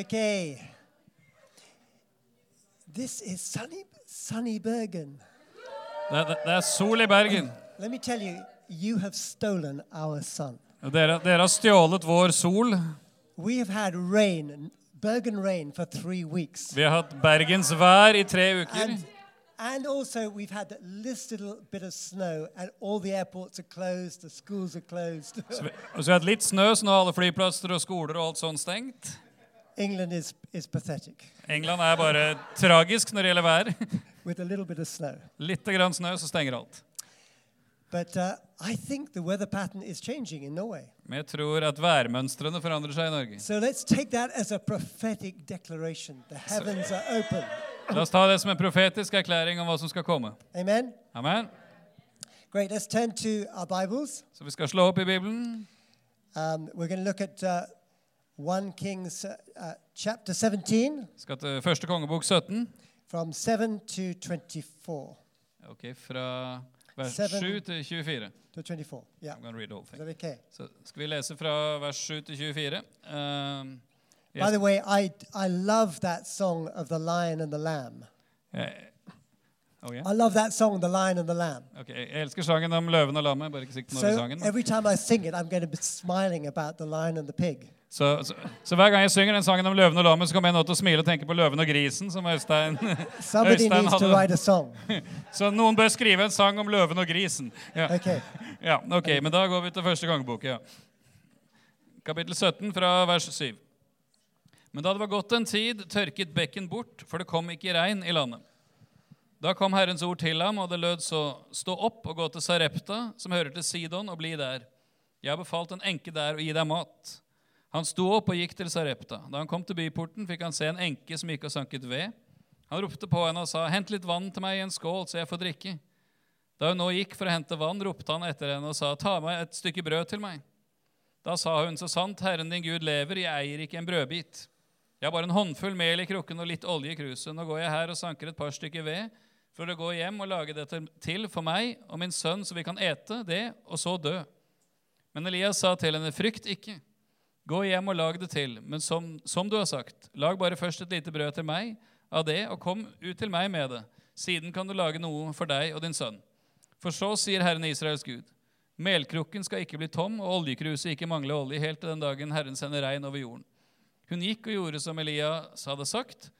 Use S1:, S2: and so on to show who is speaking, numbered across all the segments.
S1: Okay. This is sunny, sunny Bergen.
S2: Det, det, det er sol i Bergen.
S1: Let me tell you, you have stolen our sun.
S2: Dere, dere har stjålet vår sol.
S1: We have had rain, Bergen rain, for three weeks.
S2: Vi har hatt bergensvær i tre uker.
S1: And, and also, we've had this little bit of snow, and all the airports are closed, the schools are closed.
S2: Så vi, og så har vi hatt litt snø, så nå er alle flyplasser og skoler og alt sånn stengt.
S1: England is, is pathetic
S2: England er bare tragisk når det gjelder vær.
S1: with a little bit of snow.
S2: Litt grann snø, så stenger alt.
S1: But uh, I think the weather pattern is changing in Norway.
S2: Men jeg tror at værmønstrene forandrer seg i Norge.
S1: So let's take that as a prophetic declaration. The heavens are open.
S2: La oss ta det som en profetisk erklæring om hva som skal komme.
S1: Amen.
S2: Amen.
S1: Great. Let's turn to our Bibles.
S2: Så vi skal slå opp i Bibelen.
S1: Um, we're going to look at uh, 1 Kings uh, uh, chapter 17
S2: Vi skal til første kongebok 17.
S1: from 7 to 24.
S2: Ok, Fra vers
S1: Seven.
S2: 7 til 24.
S1: To 24. Yeah.
S2: I'm gonna read the whole
S1: Is
S2: thing.
S1: that okay?
S2: Så skal vi lese fra vers 7 til 24. Ehm,
S1: By
S2: Yes.
S1: the way, I, I love that song of the lion and the lamb.
S2: eh, oh yeah?
S1: I love that song, the lion and the lamb.
S2: Ok, Jeg elsker sangen om løven og lammet. bare ikke sikt på når i
S1: So
S2: sangen. men-
S1: every time I sing it, I'm going to be smiling about the lion and the pig.
S2: Så, så, så hver gang jeg synger den sangen om løven og lammet, så kommer jeg nå til å smile og tenke på løven og grisen, som Øystein
S1: Somebody
S2: Øystein
S1: needs to
S2: hadde-
S1: write a song.
S2: Så noen bør skrive en sang om løven og grisen. Ja.
S1: Okay.
S2: Ja, ok, men da går vi til første kongebok, ja. Kapittel 17 fra vers 7. Men da det var gått en tid, tørket bekken bort, for det kom ikke regn i landet. Da kom Herrens ord til ham, og det lød så, stå opp og gå til Sarepta, som hører til Sidon, og bli der. Jeg har befalt en enke der å gi deg mat. Han sto opp og gikk til Sarepta. Da han kom til byporten, fikk han se en enke som gikk og sanket ved. Han ropte på henne og sa, hent litt vann til meg i en skål, så jeg får drikke. Da hun nå gikk for å hente vann, ropte han etter henne og sa, ta meg et stykke brød til meg. Da sa hun, så sant Herren din Gud lever, jeg eier ikke en brødbit. Jeg har bare en håndfull mel i krukken og litt olje i kruset. Nå går jeg her og sanker et par stykker ved for å gå hjem og lage dette til for meg og min sønn, så vi kan ete det og så dø. Men Elias sa til henne, frykt ikke. Gå hjem og lag det til, men som, som du har sagt, lag bare først et lite brød til meg av det, og kom ut til meg med det. Siden kan du lage noe for deg og din sønn. For så sier Herren Israels Gud, melkrukken skal ikke bli tom, og oljekruset ikke mangle olje helt til den dagen Herren sender regn over jorden. Hun gikk og gjorde som Elias hadde sagt,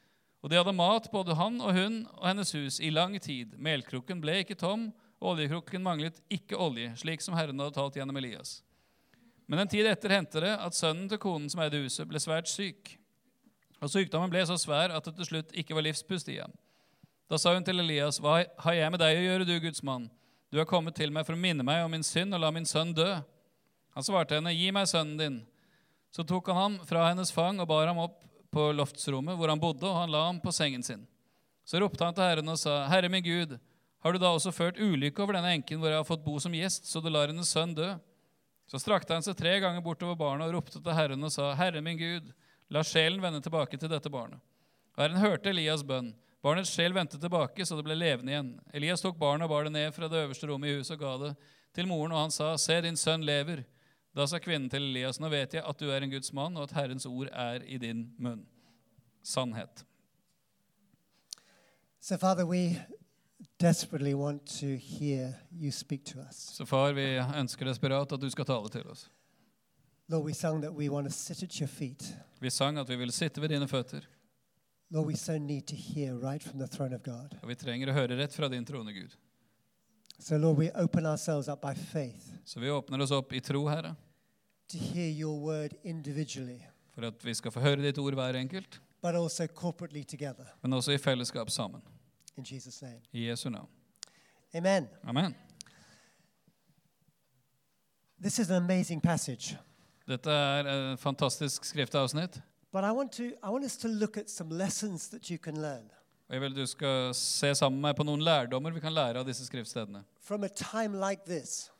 S2: og de hadde mat, både han og hun og hennes hus, i lang tid. Melkrukken ble ikke tom, og oljekrukken manglet ikke olje, slik som Herren hadde talt gjennom Elias. Men en tid etter hendte det at sønnen til konen som eide huset, ble svært syk. Og sykdommen ble så svær at det til slutt ikke var livspust i ham. Da sa hun til Elias, Hva har jeg med deg å gjøre, du Guds mann? Du er kommet til meg for å minne meg om min synd og la min sønn dø. Han svarte henne, Gi meg sønnen din. Så tok han ham fra hennes fang og bar ham opp på loftsrommet hvor han bodde, og han la ham på sengen sin. Så ropte han til Herren og sa, Herre min Gud, har du da også ført ulykke over denne enken hvor jeg har fått bo som gjest, så du lar hennes sønn dø? Så strakte han seg tre ganger bortover barnet og ropte til Herren og sa, Herre min Gud, la sjelen vende tilbake til dette barnet. Og Herren hørte Elias' bønn. Barnets sjel vendte tilbake, så det ble levende igjen. Elias tok barnet og bar det ned fra det øverste rommet i huset og ga det til moren, og han sa, Se, din sønn lever. Da sa kvinnen til Elias, Nå vet jeg at du er en Guds mann, og at Herrens ord er i din munn. Sannhet.
S1: So, Father, we desperately want to hear you speak to us.
S2: Så far, vi ønsker desperat at du skal tale til oss.
S1: Lord, we sung that we want to sit at your feet.
S2: Vi sang at vi ville sitte ved dine føtter,
S1: Lord, we so need to hear right from the throne of God.
S2: og vi trenger å høre rett fra din trone, Gud.
S1: So, Lord, we open ourselves up by faith
S2: Så vi åpner oss opp i tro, Herre,
S1: to hear your word individually,
S2: for at vi skal få høre ditt ord hver enkelt,
S1: but also corporately together.
S2: men også i fellesskap sammen.
S1: In Jesus' name.
S2: I Jesu navn.
S1: Amen.
S2: Amen.
S1: This is an amazing passage,
S2: Dette er et fantastisk skriftavsnitt,
S1: but I want, to, I want us to look at some lessons that you can learn
S2: og jeg vil du skal se sammen med meg på noen lærdommer vi kan lære av disse skriftstedene.
S1: from a time like this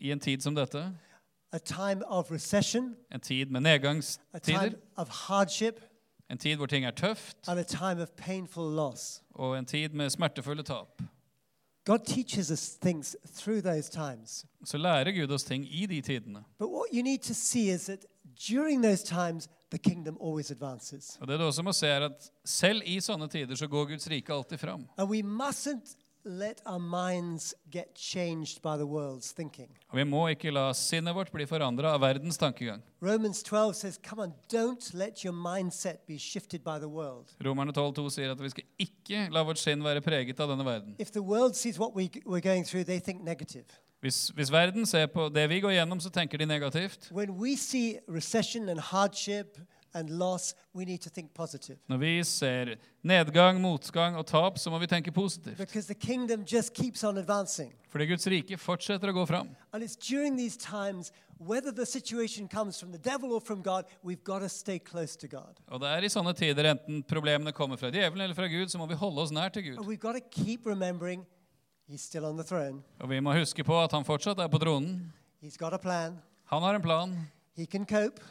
S2: I en tid som dette,
S1: a time of recession,
S2: en tid med
S1: a time
S2: nedgangstider,
S1: of hardship,
S2: en tid hvor ting er tøft,
S1: and a time of painful loss.
S2: og en tid med smertefulle tap,
S1: God teaches us things through those times.
S2: så lærer Gud oss ting i de tidene.
S1: But what you need to see is that during those times, the kingdom always advances.
S2: Og det du også må se er at Selv i sånne tider så går Guds rike alltid fram.
S1: And we mustn't let our minds get changed by the world's thinking.
S2: Og Vi må ikke la sinnet vårt bli forandra av verdens tankegang.
S1: Romans 12 says, Come on, don't let your mindset be shifted by the world.
S2: Romerne 12,2 sier at vi skal ikke la vårt sinn være preget av denne verden.
S1: If the world sees what we, we're going through, they think negative.
S2: Hvis, hvis verden ser på det vi går gjennom, så tenker de negativt.
S1: When we see recession and hardship and loss, we need to think positive.
S2: Når vi ser nedgang, motgang og tap, så må vi tenke positivt.
S1: Because the kingdom just keeps on advancing.
S2: Fordi Guds rike fortsetter å gå fram.
S1: And it's during these times, whether the situation comes from the devil or from God, we've got to stay close to God.
S2: Og det er i sånne tider, enten problemene kommer fra djevelen eller fra Gud, så må vi holde oss nær til
S1: And
S2: Gud.
S1: we've got to keep remembering He's still on the throne,
S2: Og vi må huske på at han fortsatt er på tronen.
S1: He's got a plan,
S2: Han har en plan.
S1: He can cope,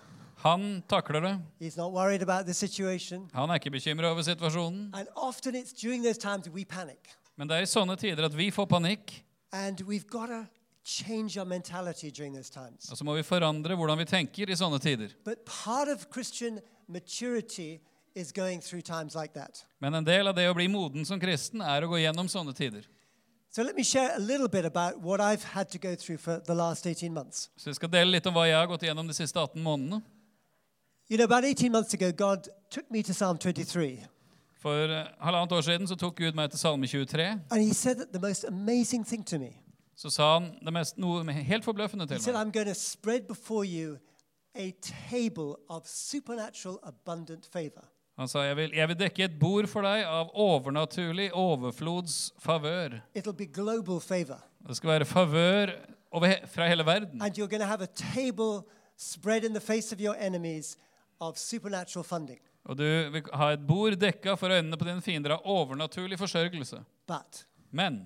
S2: Han takler det.
S1: He's not worried about the situation.
S2: Han er ikke bekymra over situasjonen.
S1: And often it's during those times we panic.
S2: Men det er i sånne tider at vi får panikk,
S1: And we've got to change our mentality during those times.
S2: og så må vi forandre hvordan vi tenker i sånne tider.
S1: But part of Christian maturity is going through times like that.
S2: Men en del av det å bli moden som kristen er å gå gjennom sånne tider.
S1: So let me share a little bit about what I've had to go through for the last 18 months.
S2: Så jeg skal dele litt om hva jeg har gått gjennom de siste 18 månedene.
S1: You know, about 18 months ago, God took me to Psalm 23,
S2: For eh, halvannet år siden så tok Gud meg til Salme 23.
S1: and He said that the most amazing thing to me.
S2: Så sa han det mest, noe helt forbløffende
S1: He
S2: til
S1: said,
S2: meg.
S1: I'm going to spread before you a table of supernatural abundant favor.
S2: Han sa jeg vil, jeg vil dekke et bord for deg av overnaturlig overflods favør.
S1: It'll be global favor.
S2: Det skal være favør over he, fra hele verden.
S1: And you're going to have a table spread in the face of your enemies of supernatural funding.
S2: Og du vil ha et bord dekka for øynene på dine fiender av overnaturlig forsørgelse.
S1: But
S2: Men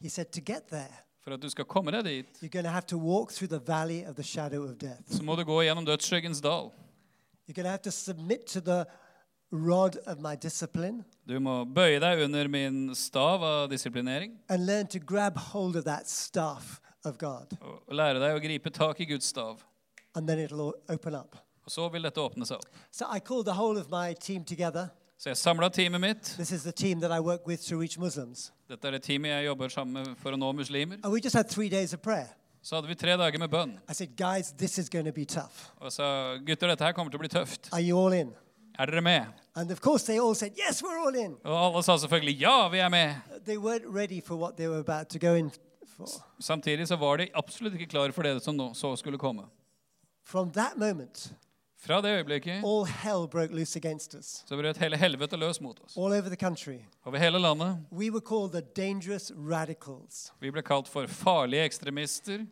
S1: he said, to get there,
S2: for at du skal komme deg dit,
S1: you're going to have to walk through the valley of the shadow of death.
S2: så må du gå gjennom dødsskyggens dal.
S1: You're going to have to submit to the rod of my discipline
S2: Du må bøye deg under min stav av disiplinering
S1: and learn to grab hold of that staff of God.
S2: og lære deg å gripe tak i Guds stav.
S1: And then it'll all open up.
S2: Og så vil dette åpne seg opp.
S1: So I called the whole of my team together.
S2: Så jeg samla teamet mitt.
S1: This is the team that I work with to reach Muslims.
S2: Dette er det teamet jeg jobber sammen med for å nå muslimer.
S1: And we just had three days of prayer.
S2: Så hadde vi tre dager med bønn.
S1: I said, guys, this is going to be tough.
S2: Og sa gutter, dette her kommer til å bli tøft.
S1: Are you all in?
S2: Er dere med?
S1: And of course, they all said, Yes, we're all in.
S2: Og alle sa selvfølgelig ja, vi er med.
S1: They weren't ready for what they were about to go in for.
S2: Samtidig så var de absolutt ikke klare for det som nå så skulle komme.
S1: From that moment,
S2: Fra det øyeblikket
S1: all hell broke loose against us,
S2: så brøt hele helvete løs mot oss.
S1: all over the country.
S2: Over hele landet.
S1: We were called the dangerous radicals,
S2: Vi ble kalt for farlige ekstremister.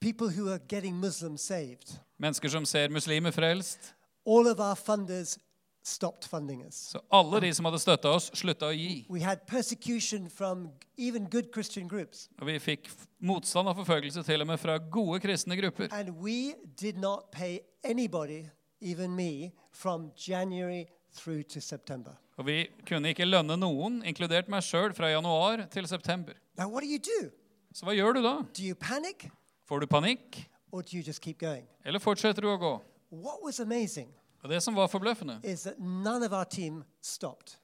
S1: people who are getting Muslims saved.
S2: Mennesker som ser muslimer frelst.
S1: All of our funders stopped funding us.
S2: Så alle de som hadde støtta oss, slutta å gi.
S1: We had persecution from even good Christian groups,
S2: Og vi fikk f- motstand og forfølgelse til og med fra gode kristne grupper.
S1: and we did not pay anybody, even me, from January through to September.
S2: Og vi kunne ikke lønne noen, inkludert meg sjøl, fra januar til september.
S1: Now, what do you do?
S2: Så hva gjør du da?
S1: Do you panic
S2: Får du panikk,
S1: or do you just keep going?
S2: eller fortsetter du å gå?
S1: What was amazing
S2: Og Det som var forbløffende,
S1: is that none of our team stopped.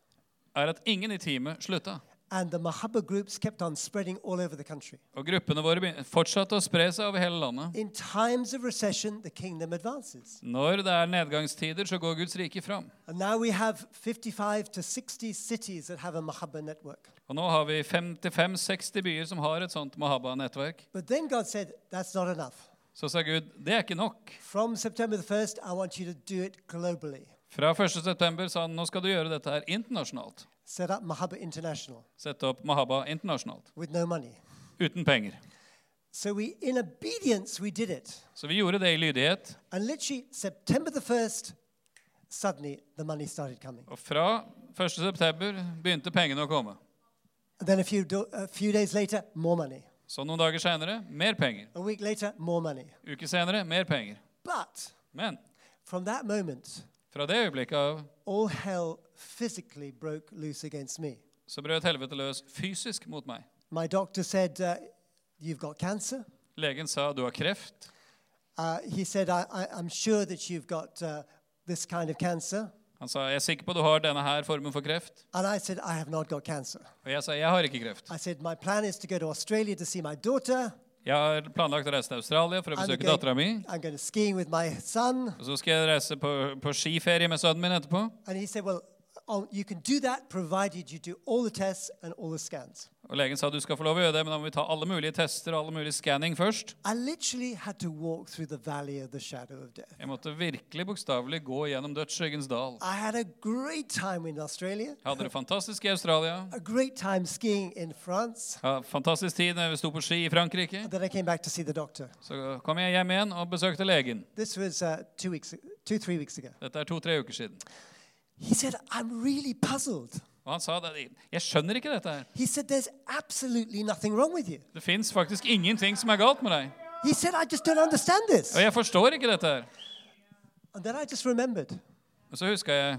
S2: er at ingen i teamet slutta.
S1: And the Mahaba groups kept on spreading all over the country.
S2: Og gruppene våre begyn- fortsatte å spre seg over hele landet.
S1: In times of recession, the kingdom advances.
S2: Når det er nedgangstider, så går Guds rike fram.
S1: And now we have 55 to 60 cities that have a Mahaba network.
S2: Og nå har vi 55-60 byer som har et sånt Mahaba-nettverk.
S1: But then God said, that's not enough.
S2: Så sa Gud det er ikke nok.
S1: From September the 1st, I want you to do it globally.
S2: Fra 1.9. sa han nå skal du gjøre dette her internasjonalt.
S1: Set up Mahaba International
S2: Sette opp Mahaba internasjonalt.
S1: with no money.
S2: Uten penger.
S1: So we, in obedience, we did it.
S2: Så vi gjorde det i lydighet.
S1: And literally, September the 1st, suddenly the money started coming.
S2: Og fra 1.9. begynte pengene å komme.
S1: And then a few, do- a few days later, more money.
S2: Så noen dager seinere mer penger.
S1: A week later, more money.
S2: Uke senere mer penger.
S1: But
S2: Men
S1: from that moment,
S2: fra det øyeblikket av
S1: all hell physically broke loose against me.
S2: så brøt helvete løs fysisk mot meg.
S1: My doctor said, uh, You've got cancer.
S2: Legen sa du har kreft.
S1: Uh, he said, I, I, I'm sure that you've got uh, this kind of cancer.
S2: Han sa, 'Jeg er sikker på du har denne her formen for kreft.'
S1: And I said, I have not got cancer.
S2: Og jeg sa, 'Jeg har ikke kreft.
S1: I said, My plan is to go to Australia to see my daughter.
S2: Jeg har planlagt å reise til Australia for å
S1: I'm
S2: besøke
S1: going-
S2: dattera mi.
S1: I'm going to skiing with my son.
S2: Og så skal jeg reise på, på skiferie med sønnen min etterpå.
S1: And he said, Well, oh, you can do that provided you do all the tests and all the scans.
S2: Og legen sa du skal få lov å gjøre det, men da må vi ta alle mulige tester og alle mulige scanning først.
S1: I literally had to walk through the valley of the shadow of death.
S2: Jeg måtte virkelig bokstavelig gå gjennom dødsskyggens dal.
S1: I had a great time in Australia,
S2: Jeg hadde det fantastisk i Australia.
S1: a great time skiing in France.
S2: Ja, fantastisk tid når vi sto på ski i Frankrike.
S1: And then I came back to see the doctor.
S2: Så kom jeg hjem igjen og besøkte legen.
S1: This was uh, two weeks, two, three weeks ago.
S2: Dette er to-tre uker siden.
S1: He said, I'm really puzzled.
S2: Og han sa da, jeg skjønner ikke dette her.
S1: He said, There's absolutely nothing wrong with you.
S2: Det fins faktisk ingenting som er galt med deg.
S1: He said, I just don't understand this.
S2: Og jeg forstår ikke dette her.
S1: And then I just remembered
S2: Og så huska jeg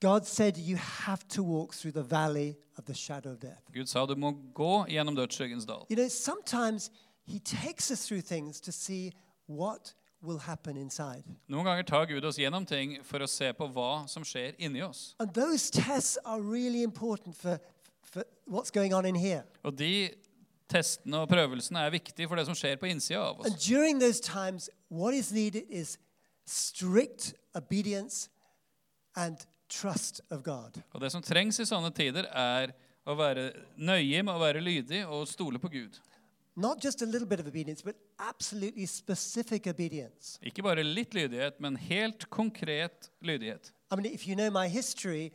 S1: God said, You have to walk through the valley of the shadow of death.
S2: Gud sa du må gå gjennom dødsskyggens dal.
S1: You know, sometimes He takes us through things to see what will happen inside.
S2: Noen ganger tar Gud oss gjennom ting for å se på hva som skjer inni oss.
S1: And those tests are really important for, for what's going on in here.
S2: Og de testene og prøvelsene er viktige for det som skjer på innsida av
S1: And
S2: oss.
S1: during those times, what is needed is strict obedience and trust of God.
S2: Og det som trengs i sånne tider, er å være nøye med å være lydig og stole på Gud.
S1: Not just a little bit of obedience, but absolutely specific obedience.
S2: Ikke bare litt lydighet, men helt konkret lydighet.
S1: I mean, if you know my history,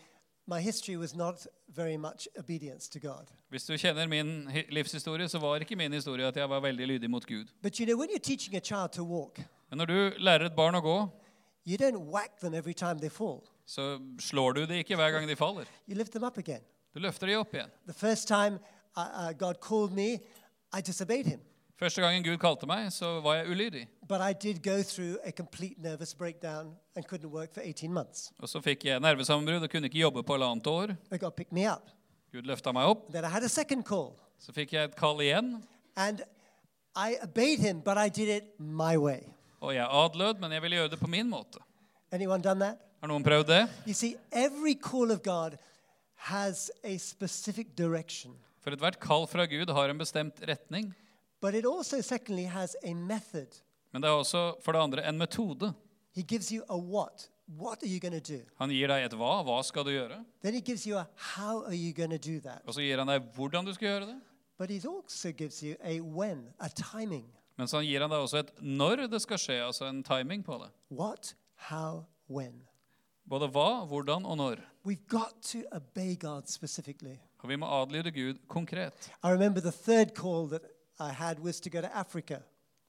S1: my history was not very much obedience to God.
S2: Hvis du kjenner min hi- livshistorie, så var ikke min historie at jeg var veldig lydig mot Gud.
S1: But you know, when you're teaching a child to walk,
S2: Men når du lærer et barn å gå,
S1: you don't whack them every time they fall,
S2: så slår du de ikke hver gang de faller.
S1: you lift them up again.
S2: Du løfter de opp igjen.
S1: The first time uh, uh, God called me, I disobeyed him.
S2: Første gangen Gud kalte meg, så var jeg ulydig.
S1: But I did go through a complete nervous breakdown and couldn't work for 18 months.
S2: Og så fikk jeg nervesammenbrudd og kunne ikke jobbe på halvannet år.
S1: But God picked me up.
S2: Gud løfta meg opp.
S1: Then I had a second call.
S2: Så fikk jeg et kall igjen,
S1: And I obeyed him, but I did it my way.
S2: og jeg adlød, men jeg ville gjøre det på min måte.
S1: Anyone done that?
S2: Har noen prøvd det?
S1: You see, every call of God has a specific direction,
S2: For ethvert kall fra Gud har en bestemt retning.
S1: but it also, secondly, has a method.
S2: Men det er også, for det andre, en metode.
S1: He gives you a what. What are you going to do?
S2: Han gir deg et hva, hva skal du gjøre?
S1: Then he gives you a how are you going to do that?
S2: Og så gir han deg hvordan du skal gjøre det.
S1: But he also gives you a when, a timing.
S2: Men så gir han deg også et når det skal skje, altså en timing på det.
S1: What, how, when.
S2: Både hva, hvordan og når.
S1: We've got to obey God specifically.
S2: Og vi må adlyde Gud konkret.
S1: I remember the third call that I had was to go to Africa.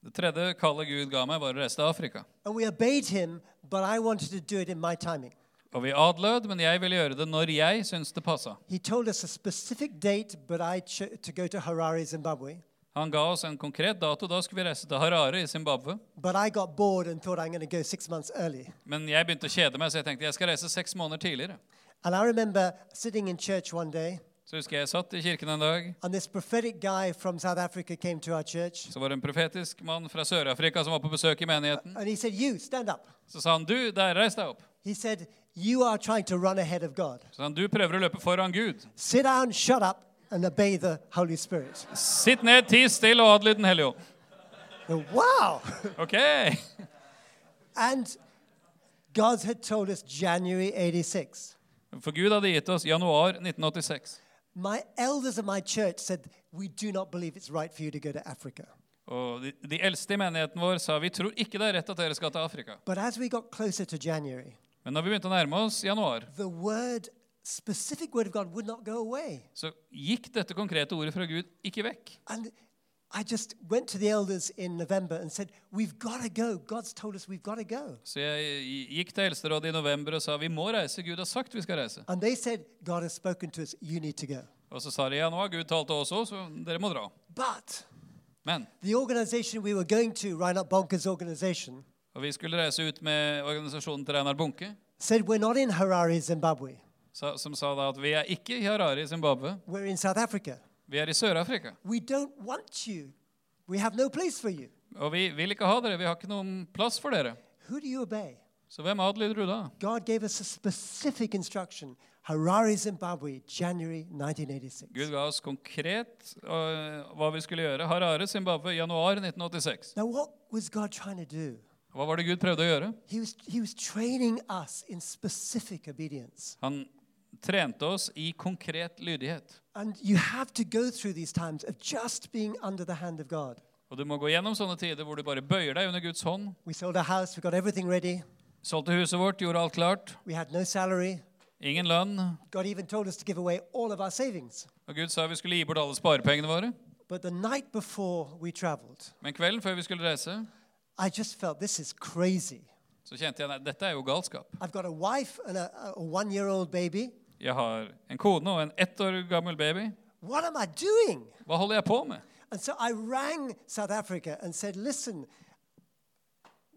S2: Det tredje kallet Gud ga meg, var å reise til Afrika.
S1: And we obeyed him, but I wanted to do it in my timing.
S2: Og vi adlød, men jeg ville gjøre det når jeg syntes det passa.
S1: He told us a specific date, but I cho- to go to Harare, Zimbabwe.
S2: Han ga oss en konkret dato. Da skulle vi reise til Harare i Zimbabwe.
S1: But I got bored and thought I'm going to go six months early.
S2: Men jeg begynte å kjede meg, så jeg tenkte jeg skal reise seks måneder tidligere.
S1: And I remember sitting in church one day,
S2: Så husker jeg jeg satt i kirken en dag.
S1: and this prophetic guy from South Africa came to our church,
S2: Så var det en profetisk mann fra Sør-Afrika som var på besøk i menigheten.
S1: and he said, "You stand up."
S2: Så sa han, du, der, reis deg opp.
S1: He said, "You are trying to run ahead of God.
S2: Så sa han, du prøver å løpe foran Gud.
S1: Sit down, shut up, and obey the Holy Spirit."
S2: Sitt ned, ti stille og adlyd Den hellige ånd.
S1: Oh, Wow!
S2: Ok!
S1: and God had told us January 86.
S2: For Gud hadde gitt oss januar 1986.
S1: My elders of my church said, "We do not believe it's right for you to go to Africa."
S2: Og de, de eldste i menigheten vår sa, vi tror ikke det er rett at dere skal til Afrika.
S1: But as we got closer to January,
S2: Men når vi begynte å nærme oss januar,
S1: the word, specific word of God, would not go away.
S2: så gikk dette konkrete ordet fra Gud ikke vekk.
S1: And I just went to the elders in November and said, We've got to go. God's told us we've got to go.
S2: Så jeg gikk til Eldsterådet i november og sa vi må reise. Gud har sagt vi skal reise.
S1: And they said, God has spoken to us. You need to go.
S2: Og så sa de ja, nå har Gud talt til oss òg, så dere må dra.
S1: But
S2: Men
S1: the organization we were going to, Reinhard Bonker's organization,
S2: og vi skulle reise ut med organisasjonen til Reinar Bunke,
S1: said, We're not in Harare, Zimbabwe.
S2: sa- som sa da at vi er ikke i Harare i Zimbabwe,
S1: We're in South Africa.
S2: vi er i Sør-Afrika.
S1: We don't want you. We have no place for you.
S2: Og vi vil ikke ha dere. Vi har ikke noen plass for dere.
S1: Who do you obey?
S2: Så hvem adlyder du da?
S1: God gave us a specific instruction Harare, Zimbabwe, January 1986.
S2: Gud ga oss konkret øh, hva vi skulle gjøre. Harare, Zimbabwe, januar 1986.
S1: Now, what was God trying to do?
S2: Hva var det Gud prøvde å gjøre?
S1: He was, he was training us in specific obedience.
S2: Han trente oss i konkret lydighet.
S1: And you have to go through these times of just being under the hand of God.
S2: Og du må gå gjennom sånne tider hvor du bare bøyer deg under Guds hånd.
S1: We sold our house, we got everything ready,
S2: Solgte huset vårt, gjorde alt klart.
S1: we had no salary.
S2: Ingen lønn.
S1: God even told us to give away all of our savings.
S2: Og Gud sa vi skulle gi bort alle sparepengene våre.
S1: But the night before we traveled,
S2: Men kvelden før vi skulle reise,
S1: I just felt this is crazy.
S2: så kjente jeg at dette er jo galskap.
S1: I've got a wife and a, a one year old baby.
S2: Jeg har en kone og en ett år gammel baby.
S1: What am I doing?
S2: Hva holder jeg på med?
S1: And so I rang South Africa and said, listen,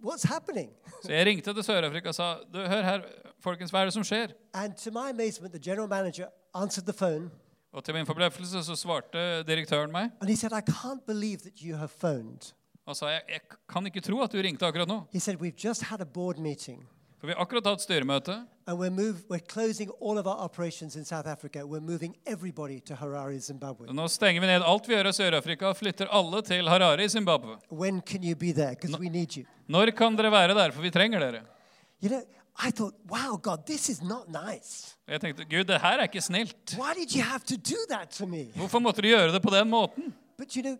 S1: what's happening?
S2: Så jeg ringte til Sør-Afrika og sa du, hør her, folkens, hva er det som skjer?
S1: And to my amazement, the general manager answered the phone
S2: Og til min forbløffelse så svarte direktøren meg
S1: and he said, I can't believe that you have phoned.
S2: og sa jeg, jeg kan ikke tro at du ringte akkurat nå.
S1: He said, We've just had a board meeting
S2: For vi har akkurat hatt styremøte,
S1: and we're, move, we're closing all of our operations in South Africa. We're moving everybody to Harare, Zimbabwe.
S2: og nå stenger vi ned alt vi gjør i Sør-Afrika og flytter alle til Harare i Zimbabwe.
S1: When can you be there? Because we need you.
S2: Når kan dere være der? For vi trenger dere.
S1: You know, I thought, wow, God, this is not nice.
S2: Og jeg tenkte gud, det her er ikke snilt.
S1: Why did you have to do that to me?
S2: Hvorfor måtte du gjøre det på den måten?
S1: But you know,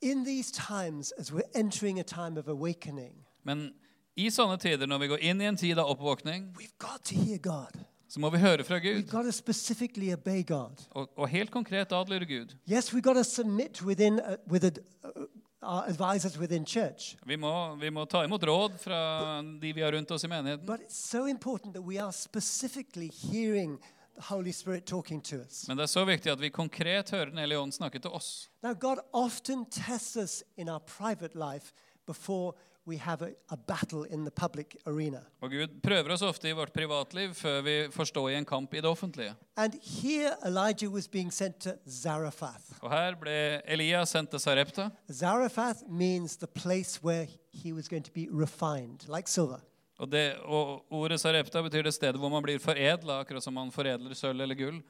S1: in these times, as we're entering a time of awakening,
S2: Men i sånne tider, når vi går inn i en tid av oppvåkning,
S1: we've got to hear God.
S2: så må vi høre fra
S1: We've
S2: Gud.
S1: got to specifically obey God.
S2: Og, og helt konkret adlyde Gud.
S1: Yes, we've got to submit within uh, with ad- uh, our advisors within church.
S2: Vi må, vi må ta imot råd fra de vi har rundt oss i menigheten.
S1: But it's so important that we are specifically hearing the Holy Spirit talking to us.
S2: Men det er så viktig at vi konkret hører Den hellige ånd snakke til oss.
S1: Now, God often tests us in our private life before we have a, a battle in the public arena.
S2: Og Gud prøver oss ofte i vårt privatliv før vi får stå i en kamp i det offentlige.
S1: And here Elijah was being sent to Zarephath.
S2: Og her ble Elias sendt til Sarepta.
S1: Zarephath means the place where he was going to be refined, like silver.
S2: Og, det, og ordet Sarepta betyr det stedet hvor man blir foredla, akkurat som man foredler sølv eller gull.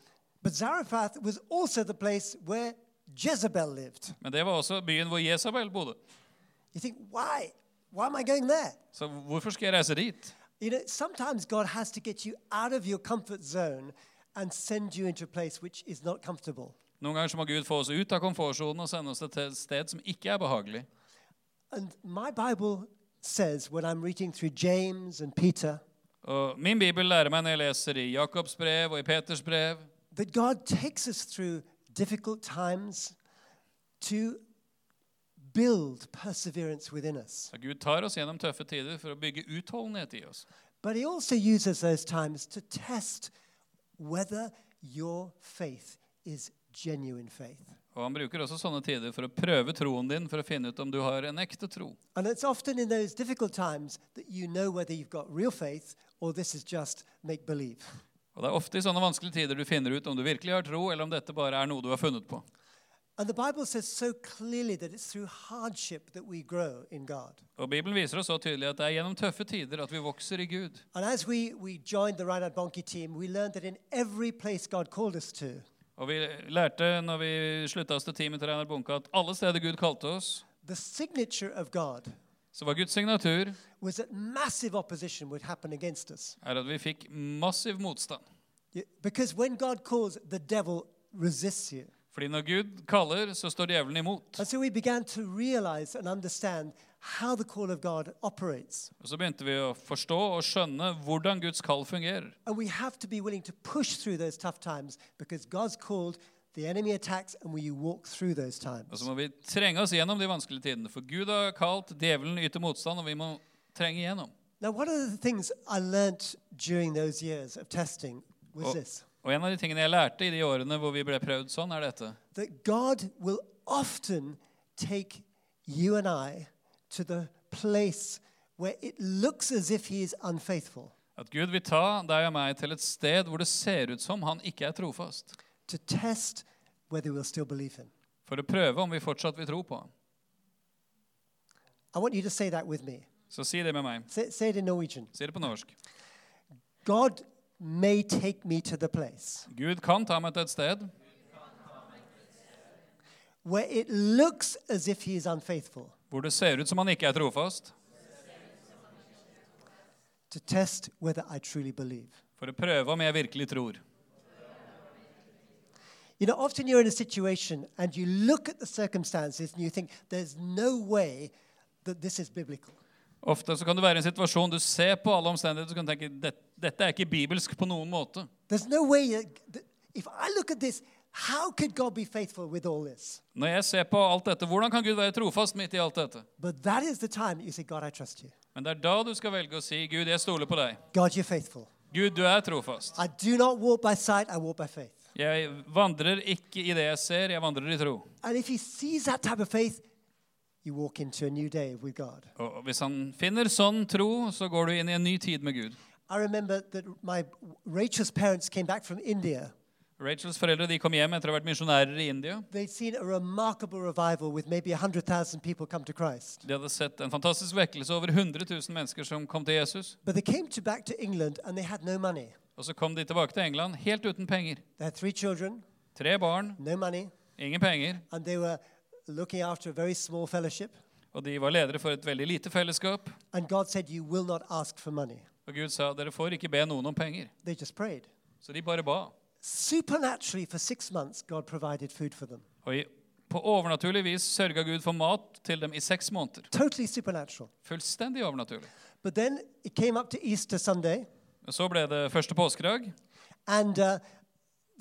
S1: But Zarephath was also the place where Jezebel lived.
S2: Men det var også byen hvor Jesabel bodde.
S1: You think, why? Why am I going there?
S2: Så hvorfor skal jeg reise dit?
S1: You know, sometimes God has to get you out of your comfort zone and send you into a place which is not comfortable.
S2: Noen ganger så må Gud få oss ut av komfortsonen og sende oss til et sted som ikke er behagelig.
S1: And my Bible says, when I'm reading through James and Peter,
S2: Og min bibel lærer meg når jeg leser i Jakobs brev og i Peters brev
S1: that God takes us through difficult times to build perseverance within us.
S2: at Gud tar oss gjennom tøffe tider for å bygge utholdenhet i oss.
S1: But He also uses those times to test whether your faith is genuine faith.
S2: Og Han bruker også sånne tider for å prøve troen din for å finne ut om du har en ekte tro.
S1: And it's often in those difficult times that you know whether you've got real faith or this is just make believe.
S2: Og Det er ofte i sånne vanskelige tider du finner ut om du virkelig har tro, eller om dette bare er noe du har funnet på.
S1: And the Bible says so clearly that it's through hardship that we grow in God.
S2: Og Bibelen viser oss så tydelig at det er gjennom tøffe tider at vi vokser i Gud.
S1: And as we, we joined the Reinhard Bonnke team, we learned that in every place God called us to,
S2: Og vi lærte når vi slutta oss til teamet til Reinar Bunke, at alle steder Gud kalte oss,
S1: the signature of God
S2: så var Guds signatur
S1: was that massive opposition would happen against us.
S2: er at vi fikk massiv motstand.
S1: Y- Because when God calls, the devil resists you.
S2: Fordi når Gud kaller, så står djevelen imot.
S1: And so we began to realize and understand how the call of God operates.
S2: Og Så begynte vi å forstå og skjønne hvordan Guds kall fungerer.
S1: And we have to be willing to push through those tough times because God's called, the enemy attacks, and we walk through those
S2: Og
S1: times.
S2: så må vi trenge oss gjennom de vanskelige tidene. For Gud har kalt, djevelen yter motstand, og vi må trenge igjennom.
S1: Now, one of the things I learnt during those years of testing was
S2: Og,
S1: this
S2: og en av de tingene jeg lærte i de årene hvor vi ble prøvd sånn, er dette.
S1: that God will often take you and I to the place where it looks as if He is unfaithful
S2: At Gud vil ta deg og meg til et sted hvor det ser ut som han ikke er trofast.
S1: to test whether we'll still believe Him.
S2: For å prøve om vi fortsatt vil tro på ham.
S1: I want you to say that with me.
S2: Så si det med meg.
S1: Say, say it in Norwegian.
S2: Si det på norsk.
S1: God may take me to the place
S2: Gud kan ta meg til et sted
S1: where it looks as if he is unfaithful
S2: hvor det ser ut som han ikke er trofast,
S1: to test whether I truly believe.
S2: for å prøve om jeg virkelig tror.
S1: You know, often you're in a situation and you look at the circumstances and you think, there's no way that this is biblical.
S2: Ofte så kan det være en situasjon du ser på alle omstendigheter og kan du tenke "Det- dette er ikke bibelsk på noen måte.
S1: There's no way, that, that- if I look at this, how could God be faithful with all this?
S2: Når jeg ser på alt dette, hvordan kan Gud være trofast midt i alt dette?
S1: But that is the time you say, God, I trust you.
S2: Men det er da du skal velge å si, Gud, jeg stoler på deg.
S1: God, you're faithful.
S2: Gud, du er trofast.
S1: I do not walk by sight, I walk by faith.
S2: Jeg vandrer ikke i det jeg ser, jeg vandrer i tro.
S1: And if he sees that type of faith, you walk into a new day with God.
S2: Og hvis han finner sånn tro, så går du inn i en ny tid med Gud.
S1: I remember that my Rachel's parents came back from India.
S2: Rachels foreldre de kom hjem etter å ha vært misjonærer i India.
S1: They'd seen a remarkable revival with maybe 100,000 people come to Christ.
S2: De hadde sett en fantastisk vekkelse, over 100 000 mennesker som kom til Jesus.
S1: But they came to back to England and they had no money.
S2: Og så kom de tilbake til England helt uten penger.
S1: They had three children,
S2: Tre barn,
S1: no money,
S2: ingen penger,
S1: and they were looking after a very small fellowship.
S2: og de var ledere for et veldig lite fellesskap.
S1: And God said, You will not ask for money.
S2: Og Gud sa dere får ikke be noen om penger.
S1: They just prayed.
S2: Så de bare ba.
S1: Supernaturally, for six months, God provided food for them.
S2: Og i, på overnaturlig vis sørga Gud for mat til dem i seks måneder.
S1: Totally supernatural.
S2: Fullstendig overnaturlig.
S1: But then it came up to Easter Sunday,
S2: Og Så ble det første påskedag,
S1: and uh,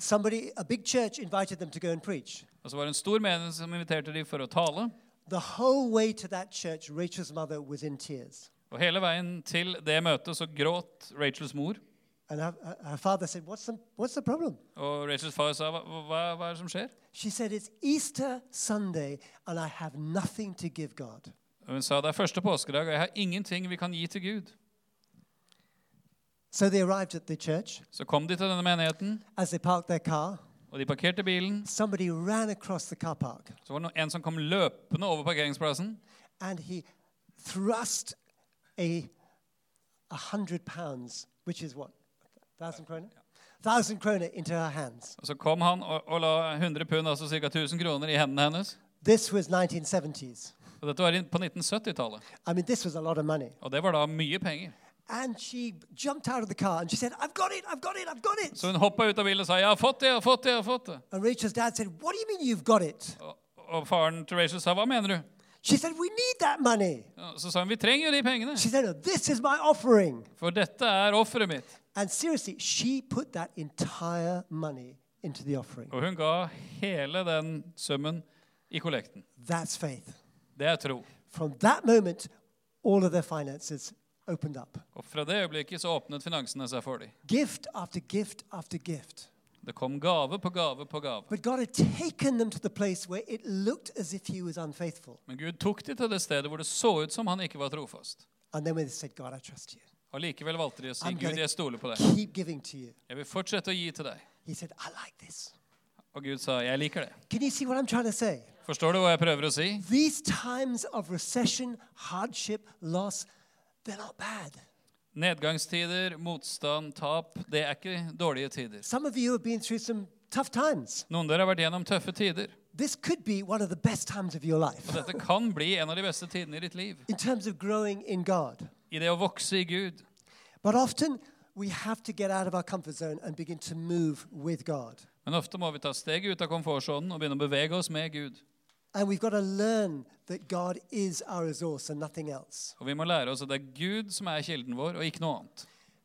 S1: somebody, a big church, invited them to go and preach.
S2: og så var det en stor menighet som inviterte dem for å tale.
S1: The whole way to that church, Rachel's mother was in tears.
S2: Og hele veien til det møtet så gråt Rachels mor.
S1: And her, her- her father said, what's the, what's the problem?
S2: Og Rachels far sa, hva, hva, hva er det som skjer?
S1: She said, It's Easter Sunday, and I have nothing to give God.
S2: Og hun sa, det er første påskedag, og jeg har ingenting vi kan gi til Gud.
S1: So they arrived at the church.
S2: Så kom de til denne menigheten,
S1: As they parked their car,
S2: og de parkerte bilen.
S1: somebody ran across the car park
S2: Så var det no- en som kom løpende over parkeringsplassen,
S1: and he thrust a, a hundred pounds, which is what? Thousand kroner? Thousand kroner into her hands.
S2: og så kom han og, og la 100 pund, altså ca. 1000 kroner, i hendene hennes.
S1: This was 1970s.
S2: Og dette var inn- på 1970-tallet,
S1: I mean, this was a lot of money.
S2: og det var da mye penger.
S1: And she jumped out of the car and she said, I've got it, I've got it, I've got it.
S2: Så hun hoppa ut av bilen og sa, jeg har fått det, jeg har fått det, jeg har fått det.
S1: And Rachel's dad said, What do you mean you've got it?
S2: Og, og faren til Rachel sa, hva mener du?
S1: She said, We need that money.
S2: Ja, Så sa hun, vi trenger jo de pengene,
S1: She said, "No, This is my offering.
S2: for dette er offeret mitt.
S1: And seriously, she put that entire money into the offering.
S2: Og hun ga hele den summen i kollekten.
S1: That's faith.
S2: Det er tro.
S1: From that moment, all of their finances opened up.
S2: Og fra det øyeblikket så åpnet finansene seg for dem.
S1: Gift after gift after gift.
S2: Det kom gave på gave på gave.
S1: But God had taken them to the place where it looked as if He was unfaithful.
S2: Men Gud tok de til det stedet hvor det så ut som han ikke var trofast.
S1: And then when they said, God, I trust you,
S2: Og likevel valgte de å si,
S1: I'm
S2: Gud,
S1: gonna-
S2: jeg stoler på deg.
S1: keep giving to you.
S2: Jeg vil fortsette å gi til deg.
S1: He said, I like this.
S2: Og Gud sa, jeg liker det.
S1: Can you see what I'm trying to say?
S2: Forstår du hva jeg prøver å si?
S1: These times of recession, hardship, loss, they're not bad.
S2: Nedgangstider, motstand, tap, det er ikke dårlige tider.
S1: Some of you have been through some tough times.
S2: Noen av dere har vært gjennom tøffe tider.
S1: This could be one of the best times of your
S2: Og
S1: life
S2: dette kan bli en av de beste tidene i ditt liv.
S1: in terms of growing in God.
S2: I det å vokse i Gud.
S1: But often we have to get out of our comfort zone and begin to move with God.
S2: Men ofte må vi ta steget ut av komfortsonen og begynne å bevege oss med Gud.
S1: And we've got to learn that God is our resource and nothing else.
S2: Og vi må lære oss at det er Gud som er kilden vår, og ikke noe annet.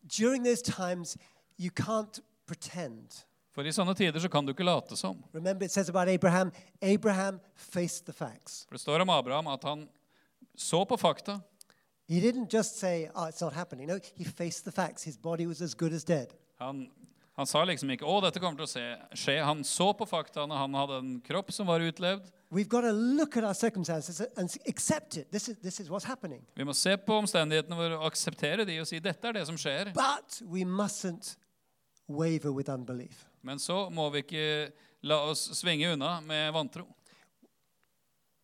S1: During those times, you can't pretend.
S2: For i sånne tider så kan du ikke late som.
S1: Remember, it says about Abraham Abraham faced the facts.
S2: For det står om Abraham at han så på fakta.
S1: He didn't just say, Oh, it's not happening. No, he faced the facts. His body was as good as dead.
S2: Han, han sa liksom ikke 'Å, dette kommer til å se- skje'. Han så på faktaene. Han hadde en kropp som var utlevd.
S1: We've got to look at our circumstances and accept it. This is, this is what's happening.
S2: Vi må se på omstendighetene våre og akseptere de og si 'dette er det som skjer'.
S1: But we mustn't waver with unbelief.
S2: Men så må vi ikke la oss svinge unna med vantro.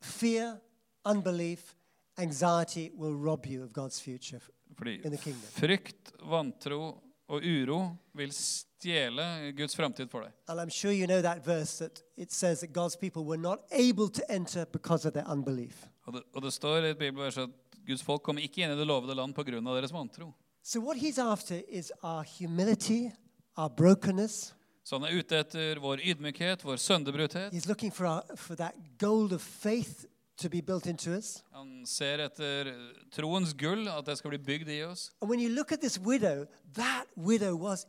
S1: Fear, unbelief, Anxiety will rob you of God's future.
S2: Fordi
S1: In the kingdom.
S2: frykt, vantro og uro vil stjele Guds framtid for deg.
S1: And I'm sure you know that verse that it says that God's people were not able to enter because of their unbelief.
S2: Og det, og det står i et bibelvers at Guds folk kommer ikke inn i det lovede land pga. deres vantro.
S1: So, what he's after is our humility, our brokenness.
S2: Så han er ute etter vår ydmykhet, vår sønderbruthet.
S1: He's looking for, our, for that gold of faith to be built into us.
S2: Han ser etter troens gull, at det skal bli bygd i oss.
S1: And when you look at this widow, that widow was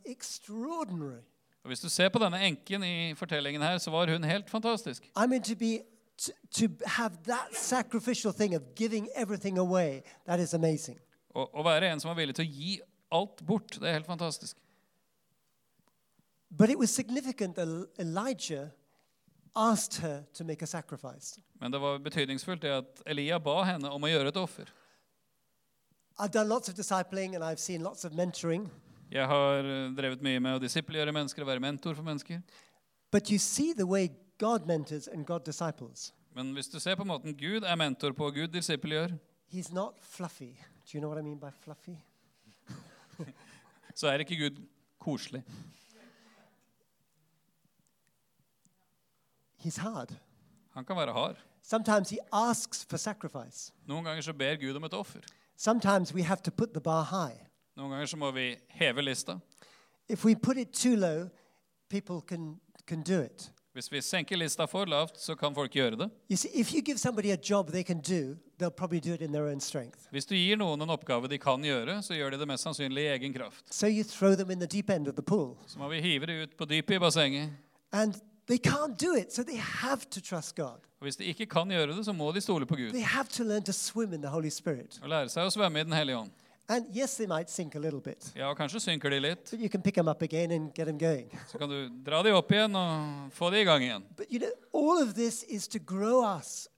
S1: extraordinary.
S2: Og Hvis du ser på denne enken i fortellingen her, så var hun helt fantastisk.
S1: I mean, to be. To, to have that sacrificial thing of giving everything away, that is amazing.
S2: Å å være en som var villig til å gi alt bort, det er helt fantastisk.
S1: But it was significant that El- Elijah asked her to make a sacrifice.
S2: Men det var betydningsfullt det at Elia ba henne om å gjøre et offer.
S1: I've done lots of discipling and I've seen lots of mentoring,
S2: Jeg har eh, drevet mye med å disiplinere mennesker og være mentor for mennesker.
S1: but you see the way God mentors and God disciples.
S2: Men hvis du ser på måten Gud er mentor på, og Gud disippelgjør,
S1: He's not fluffy. Do you know what I mean by fluffy?
S2: så er ikke Gud koselig.
S1: He's hard.
S2: Han kan være hard.
S1: Sometimes he asks for sacrifice.
S2: Noen ganger så ber Gud om et offer.
S1: Sometimes we have to put the bar high.
S2: Noen ganger så må vi heve lista.
S1: If we put it too low, people can, can do it.
S2: Hvis vi senker lista for lavt, så kan folk gjøre det.
S1: You see, if you give somebody a job they can do, they'll probably do it in their own strength.
S2: Hvis du gir noen en oppgave de kan gjøre, så gjør de det mest sannsynlig i egen kraft.
S1: So you throw them in the deep end of the pool.
S2: Så må vi hive det ut på dypet i bassenget.
S1: And they can't do it, so they have to trust God.
S2: Og hvis de ikke kan gjøre det, så må de stole på Gud
S1: They have to learn to swim in the Holy Spirit.
S2: og lære seg å svømme i Den hellige ånd.
S1: And yes, they might sink a little bit,
S2: Ja, og kanskje synker de litt.
S1: but you can pick them up again and get them going.
S2: Så kan du dra de opp igjen og få de i gang igjen.
S1: But you know, all of this is to grow us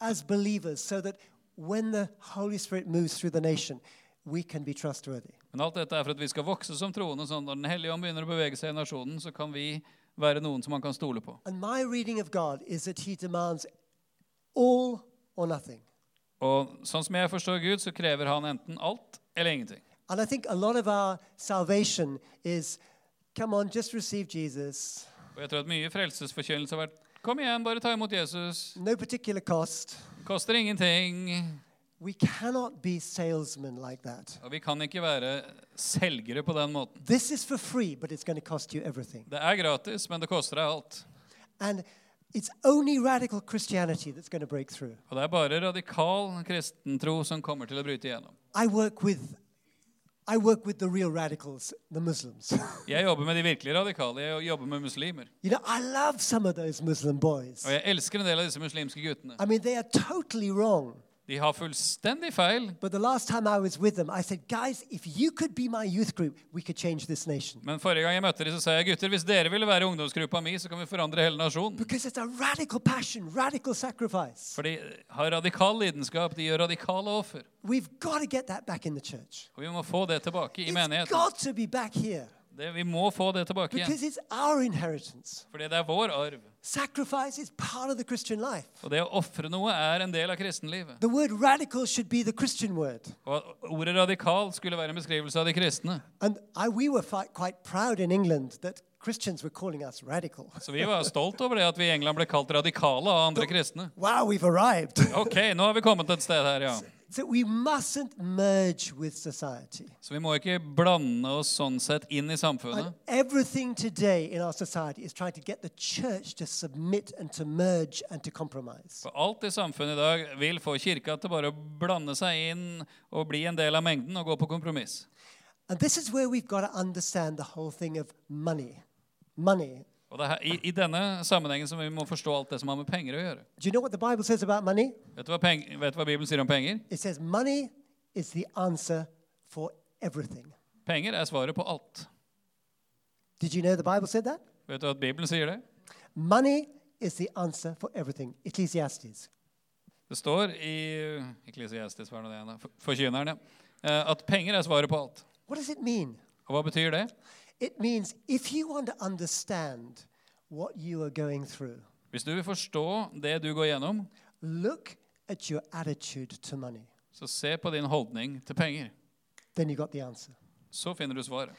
S1: as believers so that when the Holy Spirit moves through the nation, we can be trustworthy.
S2: Men alt dette er for at vi skal vokse som troende, sånn at når Den hellige ånd begynner å bevege seg i nasjonen, så kan vi være noen som man kan stole på.
S1: And my reading of God is that He demands all or nothing.
S2: Og sånn som jeg forstår Gud, så krever han enten alt eller ingenting.
S1: And I think a lot of our salvation is come on, just receive Jesus,
S2: Og jeg tror at mye frelsesforkynnelse har vært Kom igjen, bare ta imot Jesus.
S1: no particular cost.
S2: Koster ingenting.
S1: We cannot be salesmen like that.
S2: Og vi kan ikke være selgere på den måten.
S1: This is for free, but it's going to cost you everything.
S2: Det er gratis, men det koster deg alt.
S1: And it's only radical Christianity that's going to break through.
S2: Og det er bare radikal kristentro som kommer til å bryte igjennom.
S1: I work with I work with the real radicals, the Muslims.
S2: Jeg jobber med de virkelig radikale. Jeg jobber med muslimer.
S1: you know, I love some of those Muslim boys.
S2: Og jeg elsker en del av disse muslimske guttene.
S1: I mean, they are totally wrong.
S2: De har fullstendig feil,
S1: But the last time I was with them, I said, guys, if you could be my youth group, we could change this nation.
S2: men forrige gang jeg møtte dem, så sa jeg gutter, hvis dere ville være ungdomsgruppa mi, så kan vi forandre hele nasjonen.
S1: Because it's a radical passion, radical sacrifice.
S2: For de har radikal lidenskap, de gjør radikale offer.
S1: We've got to get that back in the church.
S2: Og vi må få det tilbake i
S1: It's
S2: menigheten.
S1: got to be back here
S2: Det, vi må få det tilbake igjen.
S1: because it's our inheritance.
S2: Fordi det er vår arv.
S1: Sacrifice is part of the Christian life.
S2: Og det å ofre noe er en del av kristenlivet.
S1: The word radical should be the Christian word.
S2: Og at ordet radikal skulle være en beskrivelse av de kristne.
S1: And I, we were fi- quite proud in England that Christians were calling us radical.
S2: Så vi var stolt over det at vi i England ble kalt radikale av andre kristne.
S1: Wow, we've arrived.
S2: Ok, nå har vi kommet et sted her, ja.
S1: so we mustn't merge with society.
S2: Så vi må ikke blande oss sånn sett inn i samfunnet.
S1: And everything today in our society is trying to get the church to submit and to merge and to compromise.
S2: For alt i samfunnet i dag vil få kirka til bare å blande seg inn og bli en del av mengden og gå på kompromiss.
S1: And this is where we've got to understand the whole thing of money. Money.
S2: Og det er her, i, I denne sammenhengen så vi må forstå alt det som har med penger å gjøre.
S1: Do you know what the Bible says about money?
S2: Vet du hva, peng, vet du hva Bibelen sier om penger?
S1: It says money is the answer for everything.
S2: Penger er svaret på alt.
S1: Did you know the Bible said that?
S2: Vet du at Bibelen sier det?
S1: Money is the answer for everything. Ecclesiastes.
S2: Det står i Eklesiastes, hva er det det er da? For- Forkynneren, ja. eh, At penger er svaret på alt.
S1: What does it mean?
S2: Og hva betyr det?
S1: It means if you want to understand what you are going through,
S2: Hvis du vil forstå det du går gjennom,
S1: look at your attitude to money.
S2: Så se på din holdning til penger.
S1: then you got the answer.
S2: Så finner du svaret.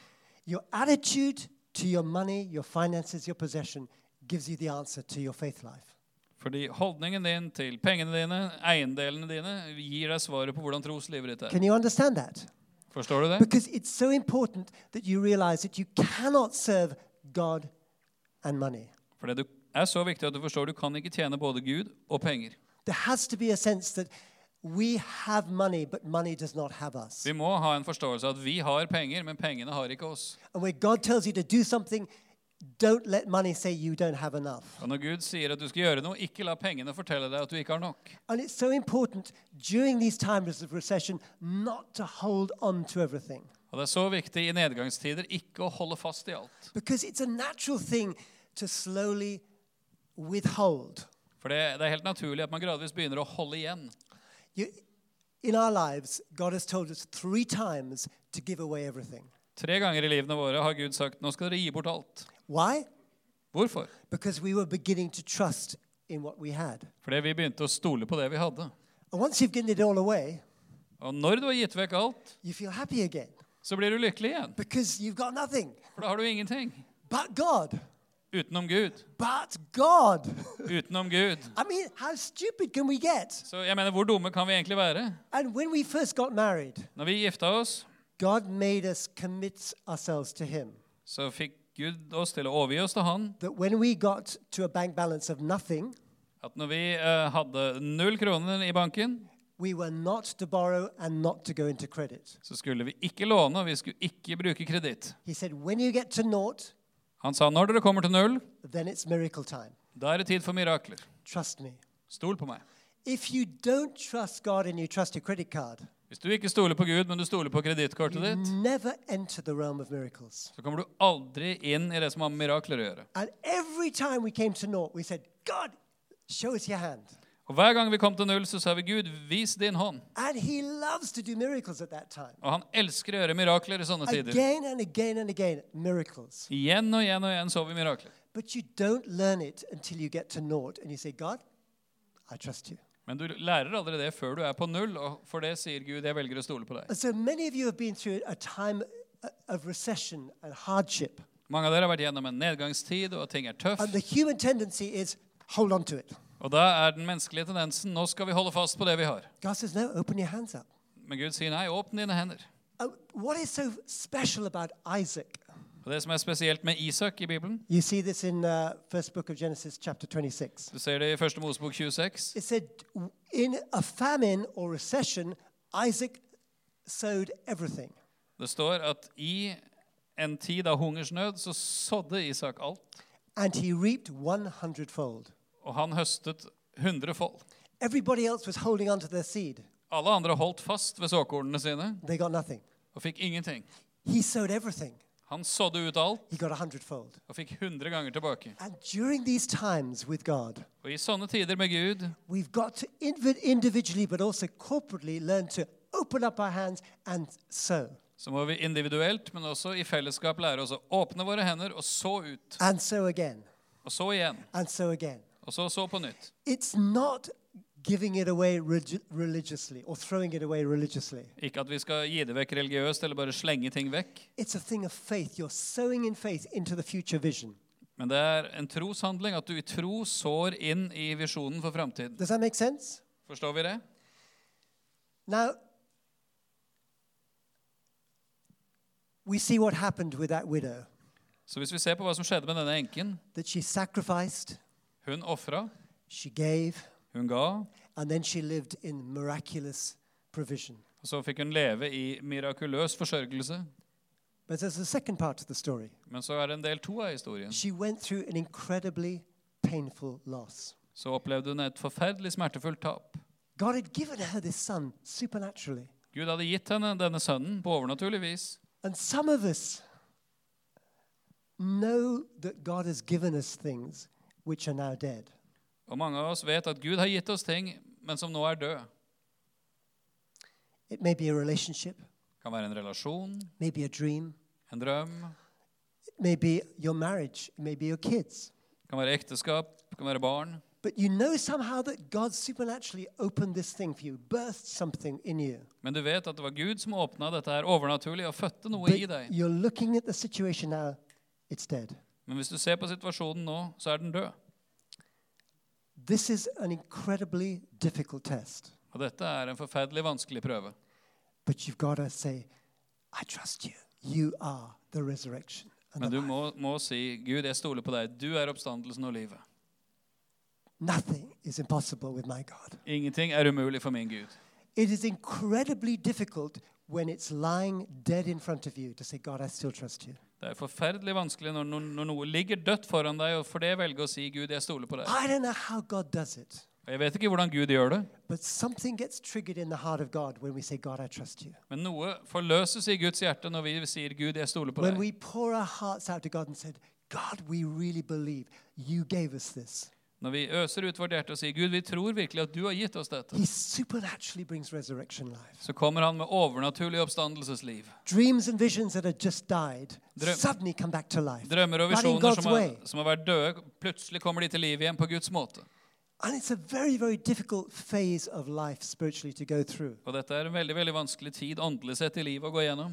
S1: Your attitude to your money, your finances, your possession gives you the answer to your faith life.
S2: Fordi holdningen din til pengene dine, eiendelene dine, gir deg svaret på hvordan troslivet ditt er.
S1: Can you understand that?
S2: Forstår du det?
S1: Because it's so important that you realize that you cannot serve God and money.
S2: For det du- er så viktig at du forstår du kan ikke tjene både Gud og penger.
S1: There has to be a sense that we have money, but money does not have us.
S2: Vi må ha en forståelse av at vi har penger, men pengene har ikke oss.
S1: And where God tells you to do something, don't let money say you don't have enough.
S2: Og når Gud sier at du skal gjøre noe, ikke la pengene fortelle deg at du ikke har nok.
S1: And it's so important during these times of recession not to hold on to everything.
S2: Og det er så viktig i nedgangstider ikke å holde fast i alt.
S1: Because it's a natural thing to slowly withhold.
S2: For det, det er helt naturlig at man gradvis begynner å holde igjen.
S1: You, in our lives, God has told us three times to give away everything.
S2: Tre ganger i livene våre har Gud sagt nå skal dere gi bort alt.
S1: Why?
S2: Hvorfor?
S1: Because we were beginning to trust in what we had.
S2: Fordi vi begynte å stole på det vi hadde.
S1: And once you've given it all away,
S2: Og når du har gitt vekk alt,
S1: you feel happy again
S2: så blir du lykkelig igjen.
S1: because you've got nothing
S2: For da har du ingenting.
S1: but God.
S2: Utenom Gud.
S1: But God.
S2: Utenom Gud.
S1: I mean, how stupid can we get?
S2: Så jeg mener, hvor dumme kan vi egentlig være?
S1: And when we first got married,
S2: Når vi gifta oss,
S1: God made us commit ourselves to Him.
S2: så fikk Gud oss til å overgi oss til Han.
S1: That when we got to a bank balance of nothing,
S2: At når vi eh, hadde null kroner i banken,
S1: we were not to borrow and not to go into credit.
S2: så skulle vi ikke låne, og vi skulle ikke bruke kreditt.
S1: He said, when you get to naught,
S2: Han sa når dere kommer til null,
S1: then it's miracle time.
S2: da er det tid for mirakler.
S1: Trust me.
S2: Stol på meg.
S1: If you don't trust God and you trust your credit card,
S2: Hvis du ikke stoler på Gud, men du stoler på kredittkortet
S1: you
S2: ditt,
S1: never enter the realm of miracles.
S2: så kommer du aldri inn i det som har med mirakler å gjøre.
S1: And every time we came to naught, we said, God, show us your hand.
S2: Og Hver gang vi kom til null, så sa vi Gud, vis din hånd.
S1: And He loves to do miracles at that time.
S2: Og han elsker å gjøre mirakler i sånne tider.
S1: Again and again and again, miracles.
S2: Igjen og igjen og igjen så vi mirakler.
S1: But you don't learn it until you get to naught and you say, God, I trust you.
S2: Men du lærer aldri det før du er på null, og for det sier Gud, jeg velger å stole på deg.
S1: And so many of you have been through a time uh, of recession and hardship.
S2: Mange av dere har vært gjennom en nedgangstid, og ting er
S1: And
S2: tøft.
S1: the human tendency is hold on to it.
S2: Og da er den menneskelige tendensen nå skal vi holde fast på det vi har.
S1: God says, no, open your hands up.
S2: Men Gud sier nei, åpne dine hender.
S1: Uh, what is so special about Isaac?
S2: Og Det som er spesielt med Isak i Bibelen,
S1: You see this in uh, first book of Genesis, chapter 26.
S2: du ser det i Første Mosebok 26,
S1: It said, in a famine or recession, Isaac sowed everything.
S2: det står at i en tid av hungersnød så sådde Isak alt,
S1: And he reaped 100 fold.
S2: og han høstet hundrefold.
S1: Everybody else was holding onto their seed.
S2: Alle andre holdt fast ved såkornene sine
S1: They got nothing.
S2: og fikk ingenting.
S1: He sowed everything.
S2: Han sådde ut alt
S1: He got a hundredfold.
S2: og fikk hundre ganger tilbake.
S1: And during these times with God,
S2: Og i sånne tider med Gud
S1: we've got to inv- individually but also corporately learn to open up our hands and sow.
S2: så må vi individuelt, men også i fellesskap lære oss å åpne våre hender og så ut.
S1: And sow again.
S2: Og så igjen.
S1: And sow again.
S2: Og så så på nytt.
S1: It's not giving it away relig- religiously or throwing it away religiously.
S2: Ikke at vi skal gi det vekk religiøst eller bare slenge ting vekk,
S1: It's a thing of faith. You're sowing in faith into the future vision.
S2: men det er en troshandling at du i tro sår inn i visjonen for framtiden.
S1: Does that make sense?
S2: Forstår vi det?
S1: Now, we see what happened with that widow
S2: Så hvis vi ser på hva som skjedde med denne enken
S1: that she sacrificed,
S2: Hun ofra,
S1: she gave,
S2: hun ga,
S1: and then she lived in miraculous provision.
S2: og så fikk hun leve i mirakuløs forsørgelse.
S1: But there's a second part to the story.
S2: Men så er det en del to av historien.
S1: She went through an incredibly painful loss.
S2: Så opplevde hun et forferdelig smertefullt tap.
S1: God had given her this son supernaturally.
S2: Gud hadde gitt henne denne sønnen på overnaturlig vis.
S1: And some of us know that God has given us things which are now dead.
S2: Og mange av oss vet at Gud har gitt oss ting, men som nå er død.
S1: It may be a relationship,
S2: Det kan være en relasjon,
S1: maybe a dream,
S2: en drøm,
S1: it may be your marriage, it may be your kids.
S2: det kan være ekteskap, det kan være barn.
S1: But you know somehow that God supernaturally opened this thing for you, birthed something in you.
S2: Men du vet at det var Gud som åpna dette her overnaturlig og fødte noe i
S1: But
S2: deg.
S1: you're looking at the situation now, it's dead.
S2: Men hvis du ser på situasjonen nå, så er den død.
S1: This is an incredibly difficult test.
S2: Og dette er en forferdelig vanskelig prøve.
S1: But you've got to say, I trust you. You are the resurrection. And
S2: Men
S1: the
S2: du
S1: life."
S2: må, må si, 'Gud, jeg stoler på deg. Du er oppstandelsen og livet.'
S1: Nothing is impossible with my God.
S2: Ingenting er umulig for min Gud.
S1: It is incredibly difficult when it's lying dead in front of you to say, God, I still trust you.
S2: Det er forferdelig vanskelig når, no- når noe ligger dødt foran deg, og for det velge å si 'Gud, jeg stoler på deg'.
S1: I don't know how God does it,
S2: Og Jeg vet ikke hvordan Gud gjør det,
S1: but something gets triggered in the heart of God when we say, God, I trust you.
S2: men noe forløses i Guds hjerte når vi sier 'Gud, jeg stoler på
S1: When
S2: deg'.
S1: we pour our hearts out to God and said, God, we really believe you gave us this.
S2: Når vi øser ut vårt hjerte og sier 'Gud, vi tror virkelig at du har gitt oss dette',
S1: He supernaturally brings resurrection life.
S2: så kommer han med overnaturlig oppstandelsesliv.
S1: Dreams and visions that had just died
S2: Drøm-
S1: suddenly come back to life.
S2: Drømmer
S1: but in
S2: og visjoner
S1: God's
S2: som har,
S1: way.
S2: som har vært døde, plutselig kommer de til liv igjen på Guds måte.
S1: And it's a very, very difficult phase of life spiritually to go through.
S2: Og dette er en veldig veldig vanskelig tid åndelig sett i livet å gå gjennom.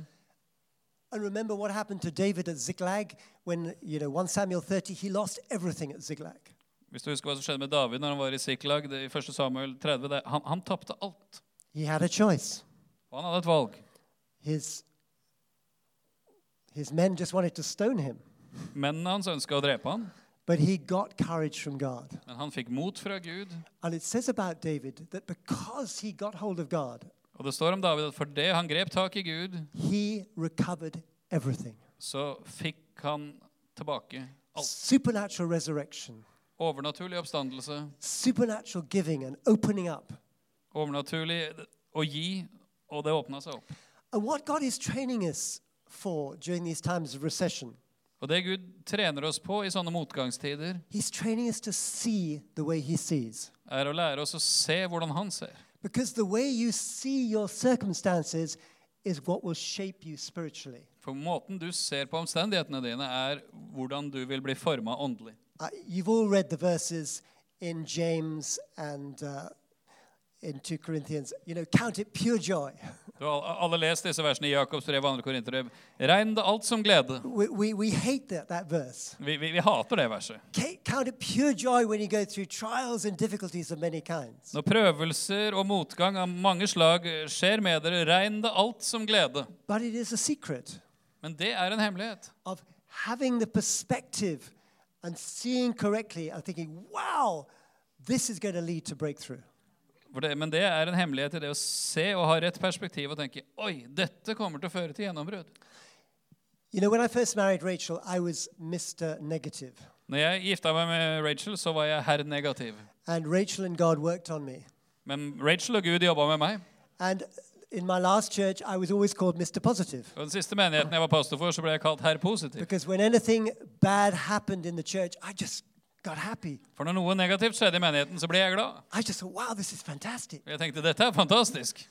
S1: And remember what happened to David at Ziklag when, you know, 1 Samuel 30, he lost everything at Ziklag.
S2: Hvis du husker hva som skjedde med David når han var i Siklag det, i 1. Samuel 30, det, han, han tapte alt.
S1: He had a choice.
S2: Og han hadde et valg.
S1: His, his men just wanted to stone him,
S2: Mennene hans ønska å drepe han,
S1: but he got courage from God.
S2: men han fikk mot fra Gud.
S1: And it says about David that because he got hold of God,
S2: Og det står om David at for det han grep tak i Gud,
S1: he recovered everything.
S2: så fikk han tilbake alt.
S1: Supernatural resurrection,
S2: Overnaturlig oppstandelse,
S1: supernatural giving and opening up.
S2: overnaturlig å gi, og det åpna seg opp.
S1: And what God is training us for during these times of recession,
S2: Og det Gud trener oss på i sånne motgangstider,
S1: He's training us to see the way He sees.
S2: er å lære oss å se hvordan han ser.
S1: Because the way you see your circumstances is what will shape you spiritually.
S2: For måten du ser på omstendighetene dine, er hvordan du vil bli forma åndelig.
S1: Uh, you've all read the verses in James and uh, in 2 Corinthians. You know, count it pure joy.
S2: Du har al- alle lest disse versene i Jakobs brev og 2. Korinterbrev. Regn det alt som glede.
S1: We, we, we hate that, that verse.
S2: Vi, vi, vi hater det verset.
S1: Ca- Count it pure joy when you go through trials and difficulties of many kinds.
S2: Når prøvelser og motgang av mange slag eh, skjer med dere, regn det alt som glede.
S1: But it is a secret.
S2: Men det er en hemmelighet.
S1: of having the perspective and seeing correctly and thinking, wow, this is going to lead to breakthrough.
S2: For det, men det er en hemmelighet i det å se og ha rett perspektiv og tenke Oi, dette kommer til å føre til gjennombrudd.
S1: You know, when I first married Rachel, I was Mr. Negative.
S2: Når jeg gifta meg med Rachel, så var jeg herr negativ.
S1: And Rachel and God worked on me.
S2: Men Rachel og Gud jobba med meg.
S1: And in my last church, I was always called Mr. Positive.
S2: Og den siste menigheten jeg var pastor for, så ble jeg kalt herr positiv.
S1: Because when anything bad happened in the church, I just got happy.
S2: For når noe negativt skjedde i menigheten, så ble jeg glad.
S1: I just thought, wow, this is fantastic.
S2: Og jeg tenkte dette er fantastisk.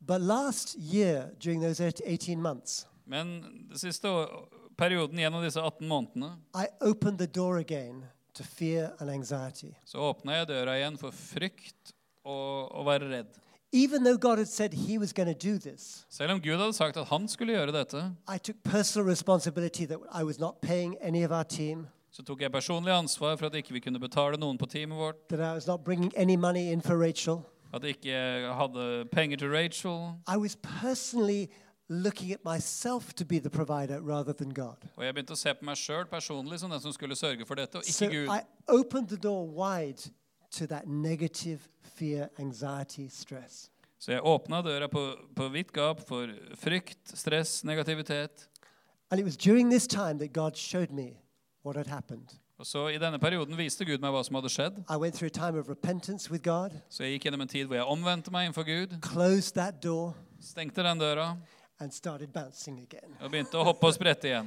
S1: But last year, during those 18 months,
S2: Men den siste å- perioden gjennom disse 18 månedene
S1: I opened the door again to fear and anxiety.
S2: så åpna jeg døra igjen for frykt og å være redd.
S1: Even though God had said He was going to do this,
S2: Selv om Gud hadde sagt at han skulle gjøre dette,
S1: I took personal responsibility that I was not paying any of our team,
S2: så tok jeg personlig ansvar for at ikke vi kunne betale noen på teamet vårt,
S1: that I was not bringing any money in for Rachel.
S2: at jeg ikke hadde penger til Rachel.
S1: I was personally looking at myself to be the provider rather than God.
S2: Og jeg begynte å se på meg sjøl personlig som den som skulle sørge for dette, og
S1: So
S2: ikke Gud.
S1: I opened the door wide to that negative fear, anxiety, stress.
S2: Så jeg åpna døra på, på vidt gap for frykt, stress, negativitet.
S1: And it was during this time that God showed me what had happened.
S2: Og så I denne perioden viste Gud meg hva som hadde skjedd.
S1: I went through a time of repentance with God,
S2: Så jeg gikk gjennom en tid hvor jeg omvendte meg innenfor Gud,
S1: closed that door,
S2: stengte den døra
S1: and started bouncing again.
S2: og begynte å hoppe og sprette igjen.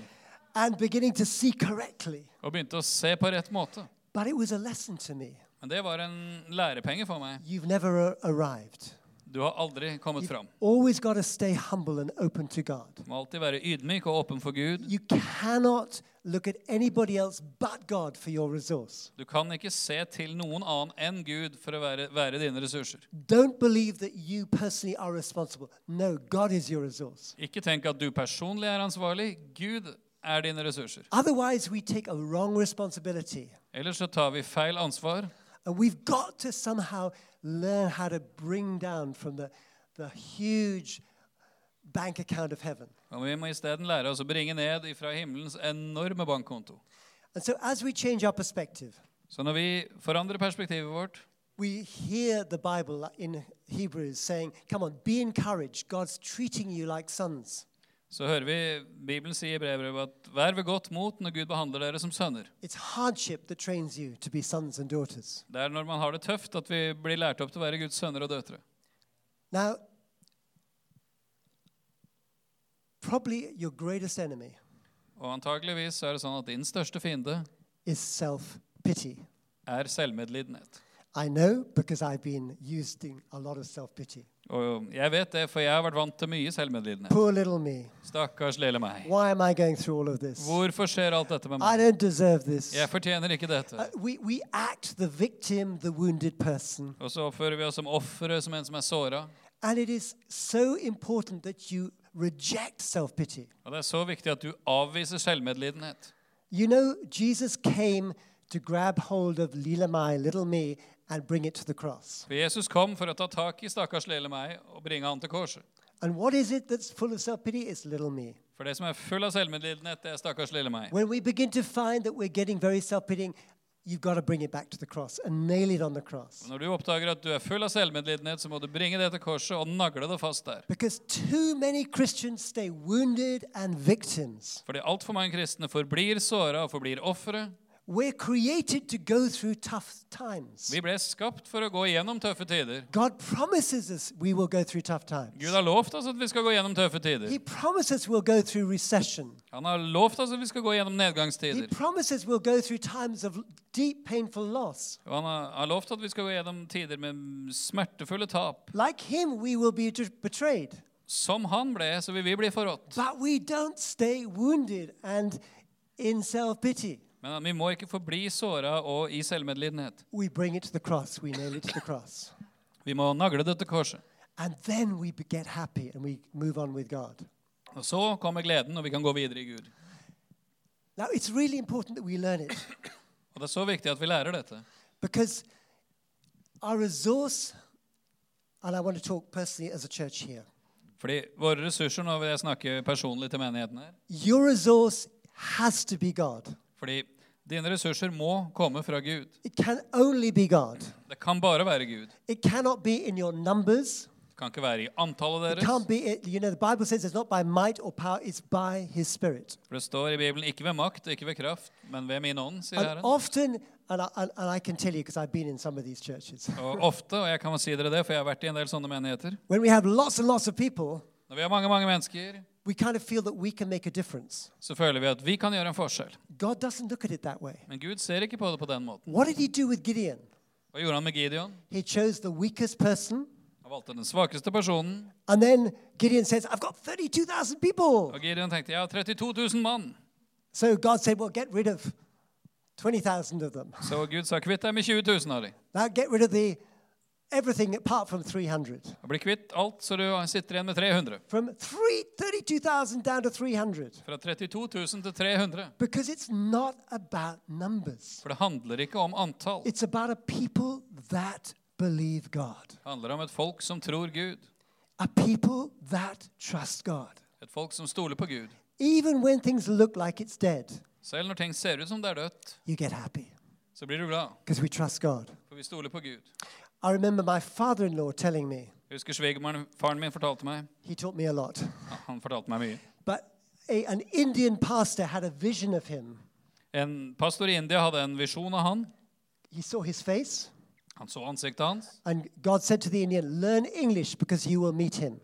S1: And beginning to see correctly.
S2: Og begynte å se på rett måte.
S1: But it was a lesson to me.
S2: Men det var en lærepenge for meg.
S1: You've never a- arrived.
S2: Du har aldri kommet fram.
S1: Always got to stay humble and open to God.
S2: Du må alltid være ydmyk og åpen for Gud.
S1: You cannot look at anybody else but God for your resource.
S2: Du kan ikke se til noen annen enn Gud for å være, være dine ressurser.
S1: Don't believe that you personally are responsible. No, God is your resource.
S2: Ikke tenk at du personlig er ansvarlig. Gud er dine ressurser.
S1: Otherwise, we take a wrong responsibility.
S2: Ellers så tar vi feil ansvar.
S1: And we've got to somehow learn how to bring down from the, the huge bank account of heaven.
S2: Og vi må isteden lære oss å bringe ned ifra himmelens enorme bankkonto.
S1: And so, as we change our perspective,
S2: Så når vi forandrer perspektivet vårt,
S1: we hear the Bible in Hebrews saying, Come on, be encouraged. God's treating you like sons.
S2: så hører vi Bibelen si i brevbrevet at vær ved godt mot når Gud behandler dere som sønner.
S1: It's hardship that trains you to be sons and daughters.
S2: Det er når man har det tøft at vi blir lært opp til å være Guds sønner og døtre.
S1: Now, probably your greatest enemy
S2: Og antakeligvis er det sånn at din største fiende
S1: is self pity.
S2: er selvmedlidenhet.
S1: I know because I've been using a lot of self pity.
S2: Og jeg vet det, for jeg har vært vant til mye selvmedlidenhet.
S1: Poor little me.
S2: Stakkars lille meg.
S1: Why am I going through all of this?
S2: Hvorfor skjer alt dette med
S1: I
S2: meg?
S1: don't deserve this.
S2: Jeg fortjener ikke
S1: Uh,
S2: dette.
S1: we, we act the victim, the wounded person.
S2: Og så oppfører vi oss som ofre, som en som er såra.
S1: And it is so important that you reject self pity.
S2: Og det er så viktig at du avviser selvmedlidenhet.
S1: You know, Jesus came to grab hold of Lila Mai, little me, and bring it to the cross.
S2: For Jesus kom for å ta tak i stakkars lille meg og bringe han til korset.
S1: And what is it that's full of self pity? It's little me.
S2: For det som er full av selvmedlidenhet, det er stakkars lille meg.
S1: When we begin to find that we're getting very self pitying, you've got to bring it back to the cross and nail it on the cross.
S2: Når du oppdager at du er full av selvmedlidenhet, så må du bringe det til korset og nagle det fast der.
S1: Because too many Christians stay wounded and victims.
S2: Fordi altfor mange kristne forblir såra og forblir ofre.
S1: We're created to go through tough times.
S2: Vi ble skapt for å gå gjennom tøffe tider.
S1: God promises us we will go through tough times.
S2: Gud har lovt oss at vi skal gå gjennom tøffe tider.
S1: He promises we'll go through recession.
S2: Han har lovt oss at vi skal gå gjennom
S1: He
S2: nedgangstider.
S1: promises we'll go through times of deep, painful loss.
S2: Og han har- har lovt at vi skal gå gjennom tider med smertefulle tap.
S1: Like him, we will be de- betrayed.
S2: Som han ble, så vil vi bli forrådt.
S1: But we don't stay wounded and in self pity.
S2: Men eh, vi må ikke forbli såra og i selvmedlidenhet.
S1: We bring it to the cross, we nail it to the cross.
S2: Vi må nagle det til korset.
S1: And then we be- get happy and we move on with God.
S2: Og så kommer gleden, og vi kan gå videre i Gud.
S1: Now, it's really important that we learn it
S2: Og det er så viktig at vi lærer dette.
S1: because our resource, and I want to talk personally as a church here,
S2: Fordi våre ressurser, nå vil jeg snakke personlig til menigheten her,
S1: your resource has to be God.
S2: fordi dine ressurser må komme fra Gud.
S1: It can only be God.
S2: Det kan bare være Gud.
S1: It cannot be in your numbers.
S2: Det kan ikke være i antallet
S1: It
S2: deres.
S1: can't be, it, you know, the Bible says it's not by might or power, it's by His Spirit.
S2: For det står i Bibelen ikke ved makt, ikke ved kraft, men ved min ånd, sier
S1: And
S2: Herren.
S1: often, and I, and, and I can tell you because I've been in some of these churches,
S2: Og ofte, og jeg kan si dere det, for jeg har vært i en del sånne menigheter,
S1: when we have lots and lots of people,
S2: når vi har mange, mange mennesker,
S1: we kind of feel that we can make a difference.
S2: så føler vi at vi kan gjøre en forskjell.
S1: God doesn't look at it that way.
S2: Men Gud ser ikke på det på den måten.
S1: What did He do with Gideon?
S2: Hva gjorde han med Gideon?
S1: He chose the weakest person,
S2: Han valgte den svakeste personen,
S1: and then Gideon says, I've got 32,000 people.
S2: og Gideon tenkte jeg har 32 000 mann.
S1: So God said, Well, get rid of 20,000 of them.
S2: Så Gud sa kvitt deg med 20 000 av dem.
S1: Now get rid of the everything apart from 300.
S2: Og bli kvitt alt, så du sitter igjen med 300.
S1: From three, 32,000 down to 300.
S2: Fra 32 000 til 300.
S1: Because it's not about numbers.
S2: For det handler ikke om antall.
S1: It's about a people that believe God,
S2: Det handler om et folk som tror Gud.
S1: a people that trust God.
S2: Et folk som stoler på Gud.
S1: Even when things look like it's dead,
S2: Selv når ting ser ut som det er dødt,
S1: you get happy
S2: så blir du glad.
S1: because we trust God.
S2: For vi stoler på Gud.
S1: I remember my father in law telling me,
S2: Jeg husker svigermoren faren min fortalte meg
S1: he taught me a lot,
S2: ja, Han fortalte meg mye.
S1: but a, an Indian pastor had a vision of him.
S2: En pastor i India hadde en visjon av han.
S1: He saw his face,
S2: Han så ansiktet hans.
S1: and God said to the Indian, Learn English because you will meet him.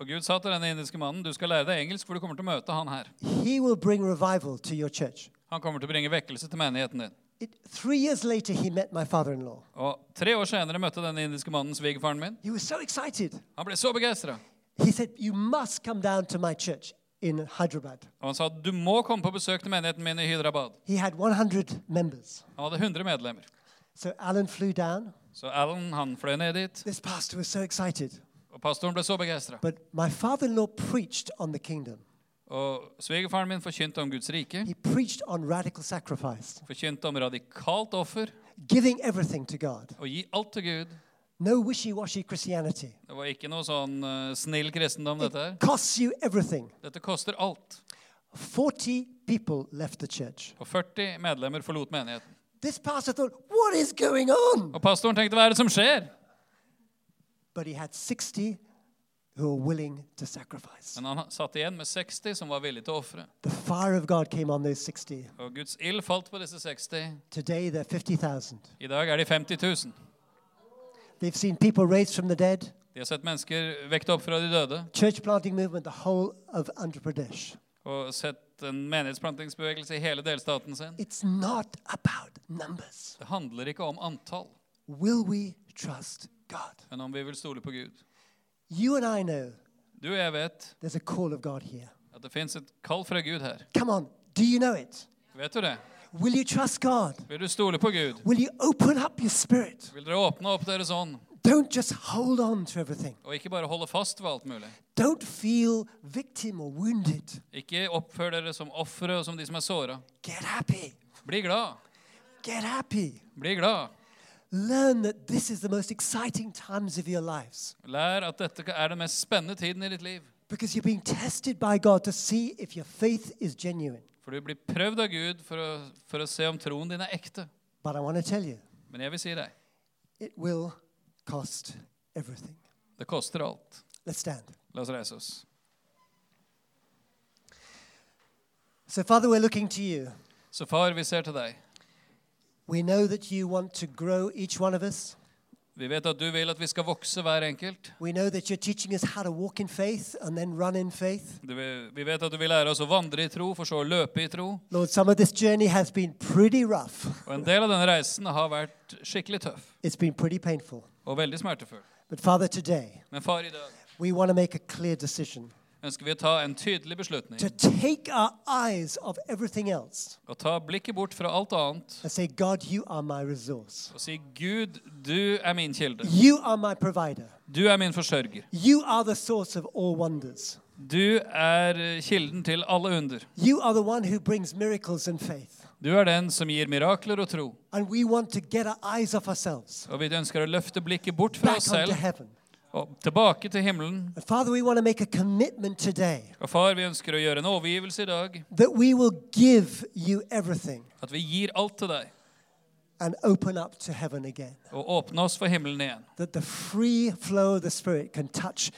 S2: Og Gud sa til denne indiske mannen du skal lære deg engelsk, for du kommer til å møte han her.
S1: He will bring revival to your church.
S2: Han kommer til å bringe vekkelse til menigheten din.
S1: It, three years later, he met my father in law.
S2: Og Tre år senere møtte denne indiske mannen svigerfaren min.
S1: He was so excited.
S2: Han ble så begeistra.
S1: He said, You must come down to my church. in Hyderabad.
S2: Og han sa du må komme på besøk til menigheten min i Hyderabad.
S1: He had 100 members.
S2: Han hadde 100 medlemmer.
S1: So Alan flew down.
S2: Så Alan han fløy ned dit,
S1: This pastor was so excited.
S2: og pastoren ble så begeistra.
S1: But my father in law preached on the kingdom,
S2: Og svigerfaren min forkynte om Guds rike,
S1: he preached on radical sacrifice,
S2: forkynte om radikalt offer,
S1: giving everything to God.
S2: å gi alt til Gud.
S1: No wishy washy Christianity.
S2: Det var ikke noe sånn eh, snill kristendom, dette her.
S1: Costs you everything.
S2: Dette koster alt.
S1: 40 people left the church.
S2: Og 40 medlemmer forlot menigheten.
S1: This pastor thought, what is going on?
S2: Og pastoren tenkte hva er det som skjer?
S1: But he had 60 who were willing to sacrifice.
S2: Men han satt igjen med 60 som var villige til å ofre.
S1: The fire of God came on those 60.
S2: Og Guds ild falt på disse 60.
S1: Today they're 50,000.
S2: I dag er de 50 000.
S1: They've seen people raised from the dead,
S2: De har sett mennesker vekt opp fra de døde
S1: church planting movement, the whole of Andhra Pradesh.
S2: og sett en menighetsplantingsbevegelse i hele delstaten sin.
S1: It's not about numbers.
S2: Det handler ikke om antall,
S1: Will we trust God?
S2: men om vi vil stole på Gud.
S1: You and I know
S2: Du og jeg vet
S1: there's a call of God here.
S2: at det fins et kall fra Gud her.
S1: Come on, do you know it?
S2: Vet du det?
S1: Will you trust God?
S2: Vil du stole på Gud?
S1: Will you open up your spirit?
S2: Vil dere åpne opp deres ånd
S1: Don't just hold on to everything.
S2: og ikke bare holde fast ved alt mulig?
S1: Don't feel victim or wounded.
S2: Ikke oppfør dere som ofre og som de som er såra.
S1: Get happy.
S2: Bli glad.
S1: Get happy.
S2: Bli glad.
S1: Learn that this is the most exciting times of your lives
S2: Lær at dette er den mest spennende tiden i ditt liv.
S1: because you're being tested by God to see if your faith is genuine.
S2: For du blir prøvd av Gud for å, for å se om troen din er ekte.
S1: But I want to tell you,
S2: Men jeg vil si deg,
S1: it will cost everything.
S2: det koster alt.
S1: Let's stand.
S2: La oss reise oss.
S1: So, Father, we're looking to you.
S2: Så far, vi ser til deg.
S1: We know that you want to grow each one of us.
S2: Vi vet at du vil at vi skal vokse hver enkelt.
S1: We know that you're teaching us how to walk in faith and then run in faith.
S2: Du vil, vi vet at du vil lære oss å vandre i tro, for så å løpe i tro.
S1: Lord, some of this journey has been pretty rough.
S2: Og en del av denne reisen har vært skikkelig tøff
S1: It's been pretty painful.
S2: og veldig smertefull.
S1: But Father, today
S2: Men far, i dag
S1: we want to make a clear decision
S2: ønsker vi å ta en tydelig beslutning
S1: to take our eyes off everything else
S2: og ta blikket bort fra alt annet
S1: and say, God, you are my resource.
S2: og si Gud, du er min kilde.
S1: You are my provider.
S2: Du er min forsørger.
S1: You are the source of all wonders.
S2: Du er eh, kilden til alle under.
S1: You are the one who brings miracles and faith.
S2: Du er den som gir mirakler og tro.
S1: And we want to get our eyes off ourselves,
S2: Og vi ønsker å løfte blikket bort fra
S1: back
S2: oss
S1: onto
S2: selv
S1: heaven.
S2: og tilbake til himmelen.
S1: And Father, we want to make a commitment today
S2: Og far, vi ønsker å gjøre en overgivelse i dag.
S1: that we will give you everything
S2: At vi gir alt til deg
S1: and open up to heaven again.
S2: og åpner oss for himmelen igjen.
S1: That the free flow of the Spirit can touch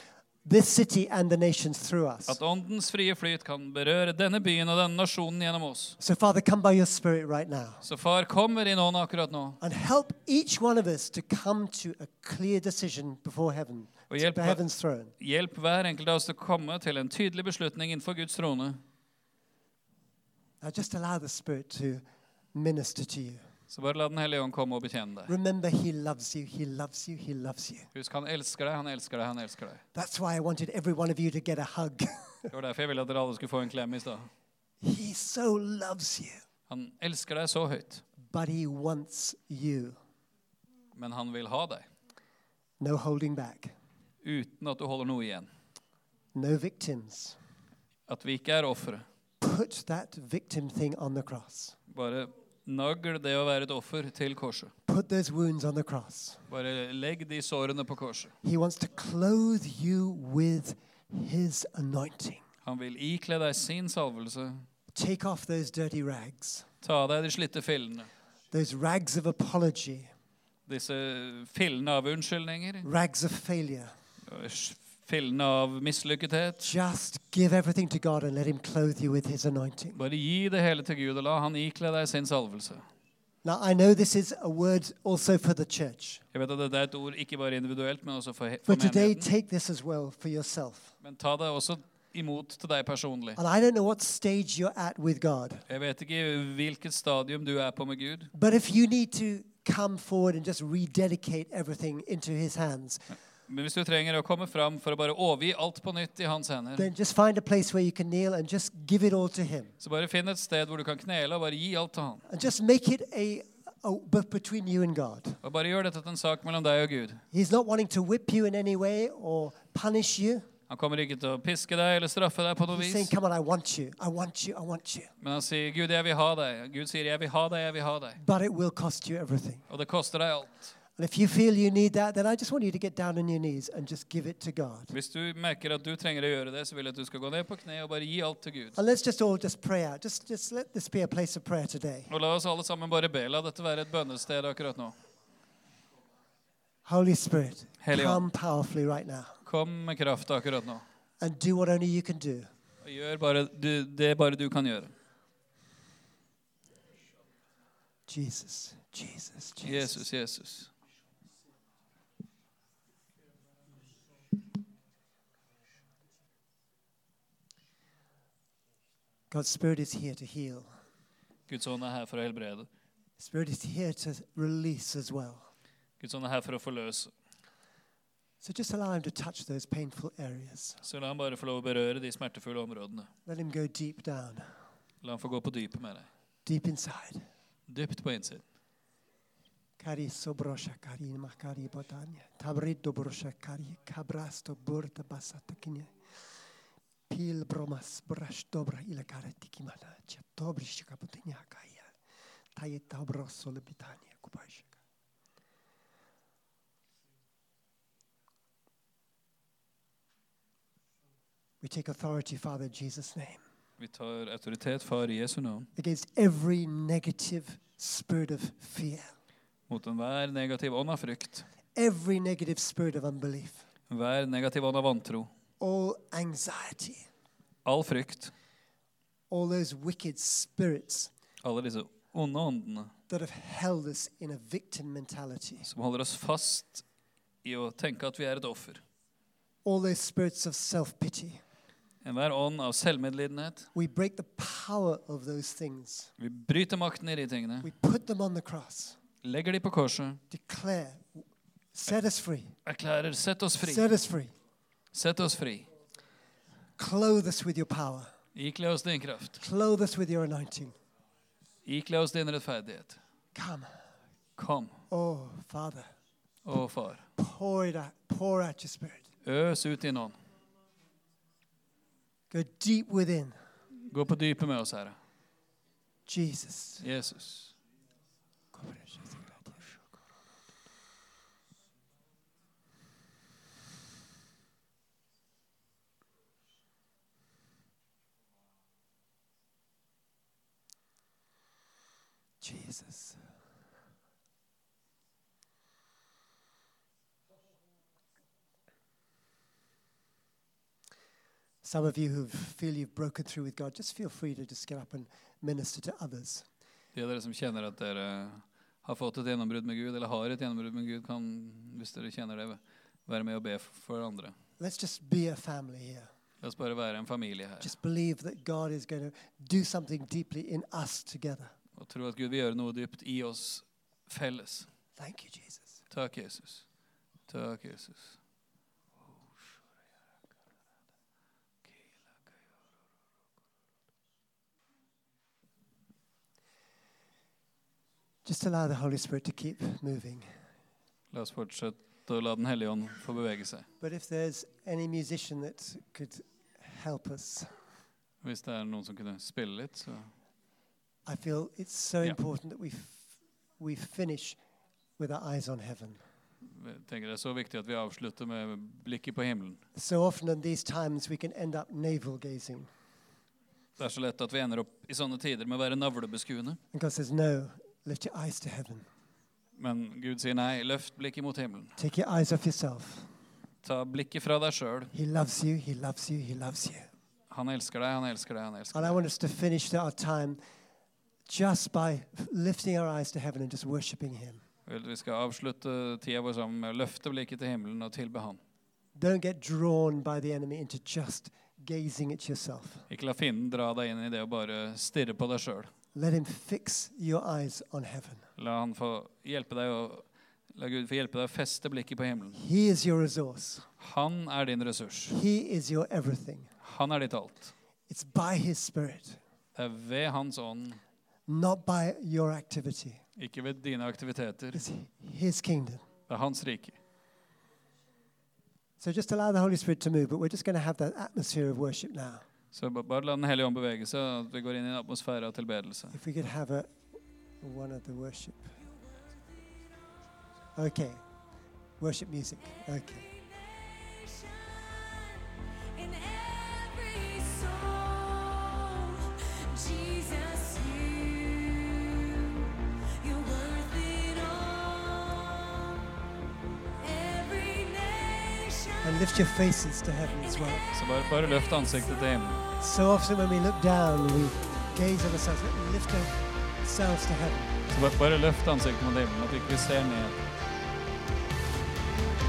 S1: this city and the nations through us.
S2: At åndens frie flyt kan berøre denne byen og denne nasjonen gjennom oss.
S1: So, Father, come by your Spirit right now
S2: Så far, kommer inn ånd akkurat nå.
S1: and help each one of us to come to a clear decision before heaven,
S2: Og hjelp
S1: to
S2: hver-
S1: heaven's throne.
S2: Hjelp hver enkelt av oss til å komme til en tydelig beslutning innenfor Guds trone.
S1: Now, Uh, just allow the Spirit to minister to you.
S2: Så bare la Den hellige ånd komme og betjene deg.
S1: Remember, He loves you, He loves you, He loves you.
S2: Husk, han elsker deg, han elsker deg, han elsker deg.
S1: That's why I wanted every one of you to get a hug.
S2: Det var derfor jeg ville at dere alle skulle få en klem i stad.
S1: he so loves you,
S2: Han elsker deg så høyt,
S1: but He wants you.
S2: men han vil ha deg.
S1: No holding back,
S2: Uten at du holder noe igjen.
S1: no victims.
S2: At vi ikke er ofre.
S1: Put that victim thing on the cross.
S2: Bare nagl det å være et offer til korset.
S1: Put those wounds on the cross.
S2: Bare legg de sårene på korset.
S1: He wants to clothe you with His anointing.
S2: Han vil ikle deg sin salvelse.
S1: Take off those dirty rags,
S2: Ta av deg de slitte fillene.
S1: those rags of apology,
S2: Disse fillene av unnskyldninger.
S1: rags of failure.
S2: Fillene av mislykkethet.
S1: Just give everything to God and let Him clothe you with His anointing.
S2: Bare gi det hele til Gud, og la han ikle deg sin salvelse.
S1: Now, I know this is a word also for the church,
S2: Jeg vet at dette er et ord ikke bare individuelt, men også for, he- for
S1: but today
S2: menigheten.
S1: take this as well for yourself.
S2: Men ta det også imot til deg personlig.
S1: And I don't know what stage you're at with God,
S2: Jeg vet ikke hvilket stadium du er på med Gud,
S1: but if you need to come forward and just rededicate everything into His hands,
S2: Men hvis du trenger å komme fram for å bare overgi alt på nytt i hans hender,
S1: then just find a place where you can kneel and just give it all to Him.
S2: så bare finn et sted hvor du kan knele og bare gi alt til han.
S1: And just make it a, a but between you and God.
S2: Og bare gjør dette til en sak mellom deg og Gud.
S1: He's not wanting to whip you in any way or punish you.
S2: Han kommer ikke til å piske deg eller straffe deg på noe
S1: He's saying,
S2: vis,
S1: Come on, I want you. I want you. I want you.
S2: men han sier, 'Gud, jeg vil ha deg'. Gud sier, 'Jeg vil ha deg, jeg vil ha deg'.
S1: But it will cost you everything.
S2: Og det koster deg alt.
S1: And if you feel you need that, then I just want you to get down on your knees and just give it to God.
S2: Hvis du merker at du trenger å gjøre det, så vil jeg at du skal gå ned på kne og bare gi alt til Gud.
S1: And let's just all just pray out. Just, just let this be a place of prayer today.
S2: Og la oss alle sammen bare be. La dette være et bønnested akkurat nå.
S1: Holy Spirit,
S2: Helio.
S1: come powerfully right now
S2: Kom med kraft akkurat nå.
S1: and do what only you can do.
S2: Og gjør bare du, det bare du kan gjøre.
S1: Jesus, Jesus, Jesus.
S2: Jesus, Jesus.
S1: God's Spirit is here to heal.
S2: Guds ånd er her for å helbrede.
S1: Spirit is here to release as well.
S2: Guds ånd sånn er her for å forløse.
S1: So just allow Him to touch those painful areas.
S2: Så la han bare få lov å berøre de smertefulle områdene.
S1: Let Him go deep down,
S2: La han få gå på dypet med deg.
S1: deep inside.
S2: Dypt på innsiden.
S1: Kari sobrosha kari makari botania. Tabrido brosha kari kabrasto burta basatakinia. Pil bromas brash dobra ila kara tikimana. Chatobri shikapotinia kaya. Taye tabroso lebitania kubashaka. We take authority, Father, in Jesus' name,
S2: Vi tar autoritet, far, i Jesu navn,
S1: against every negative spirit of fear,
S2: mot enhver negativ ånd av frykt,
S1: every negative spirit of unbelief.
S2: enhver negativ ånd av vantro,
S1: all anxiety,
S2: all frykt,
S1: all those wicked spirits
S2: alle disse onde åndene
S1: that have held us in a victim mentality,
S2: som holder oss fast i å tenke at vi er et offer.
S1: all those spirits of self pity.
S2: Enhver ånd av selvmedlidenhet.
S1: We break the power of those things.
S2: Vi bryter makten i de tingene,
S1: We put them on the cross,
S2: legger de på korset,
S1: declare, set us free,
S2: erklærer 'sett oss fri',
S1: set us free,
S2: sett oss fri.
S1: clothe us with your power,
S2: Ikle oss din kraft,
S1: clothe us with your anointing.
S2: ikle oss din rettferdighet.
S1: Come,
S2: Kom,
S1: oh Father,
S2: å Far,
S1: pour it out, pour out your spirit.
S2: øs ut din ånd.
S1: Go deep within,
S2: Gå på dypet med oss, Herre.
S1: Jesus.
S2: Jesus.
S1: Jesus. Some of you who feel you've broken through with God, just feel free to just get up and minister to others.
S2: De av dere som kjenner at dere har fått et gjennombrudd med Gud, eller har et gjennombrudd med Gud, kan, hvis dere kjenner det, være med og be for andre.
S1: Let's just be a family here.
S2: La oss bare være en familie her
S1: Just believe that God is going to do something deeply in us together.
S2: og tro at Gud vil gjøre noe dypt i oss felles.
S1: Thank you, Jesus.
S2: Takk, Jesus. Takk, Jesus.
S1: Just allow the Holy Spirit to keep moving.
S2: La oss fortsette å la Den hellige ånd få bevege seg.
S1: But if there's any musician that could help us,
S2: Hvis det er noen som kunne spille litt, så
S1: I feel it's so
S2: Yeah.
S1: important that we, f- we finish with our eyes on heaven.
S2: jeg tenker jeg det er så viktig at vi avslutter med blikket på himmelen.
S1: So often in these times, we can end up navel gazing.
S2: Det er så lett at vi ender opp i sånne tider med å være navlebeskuende.
S1: And God says, No, lift your eyes to heaven.
S2: Men Gud sier nei, løft blikket mot himmelen.
S1: Take your eyes off yourself.
S2: Ta blikket fra deg sjøl.
S1: He loves you, He loves you, He loves you.
S2: Han elsker deg, han elsker deg, han elsker deg.
S1: And I want us to finish our time just by lifting our eyes to heaven and just worshiping Him.
S2: Vel, Vi skal avslutte tida vår sammen med å løfte blikket til himmelen og tilbe Han.
S1: Don't get drawn by the enemy into just gazing at yourself.
S2: Ikke la fienden dra deg inn i det å bare stirre på deg sjøl.
S1: Let Him fix your eyes on heaven.
S2: La han få hjelpe deg å La Gud få hjelpe deg å feste blikket på himmelen.
S1: He is your resource.
S2: Han er din ressurs.
S1: He is your everything.
S2: Han er ditt alt.
S1: It's by His Spirit,
S2: Det er ved Hans ånd,
S1: not by your activity.
S2: ikke ved dine aktiviteter.
S1: It's His kingdom.
S2: Det er Hans rike.
S1: So just allow the Holy Spirit to move, but we're just going to have that atmosphere of worship now.
S2: Så ba- bare la Den hellige ånd bevege seg, at vi går inn i en atmosfære av tilbedelse.
S1: If we could have a one of the worship. Okay. Worship music. Okay.
S3: In every soul, Jesus, you, you're worth it all. Every
S1: And
S3: nation,
S1: lift your faces to heaven as well.
S2: Så bare, bare løft ansiktet til himmelen.
S1: So often when we look down, we gaze at ourselves, but lift ourselves to heaven.
S2: Så bare, bare løft ansiktet mot himmelen, at vi ikke ser ned.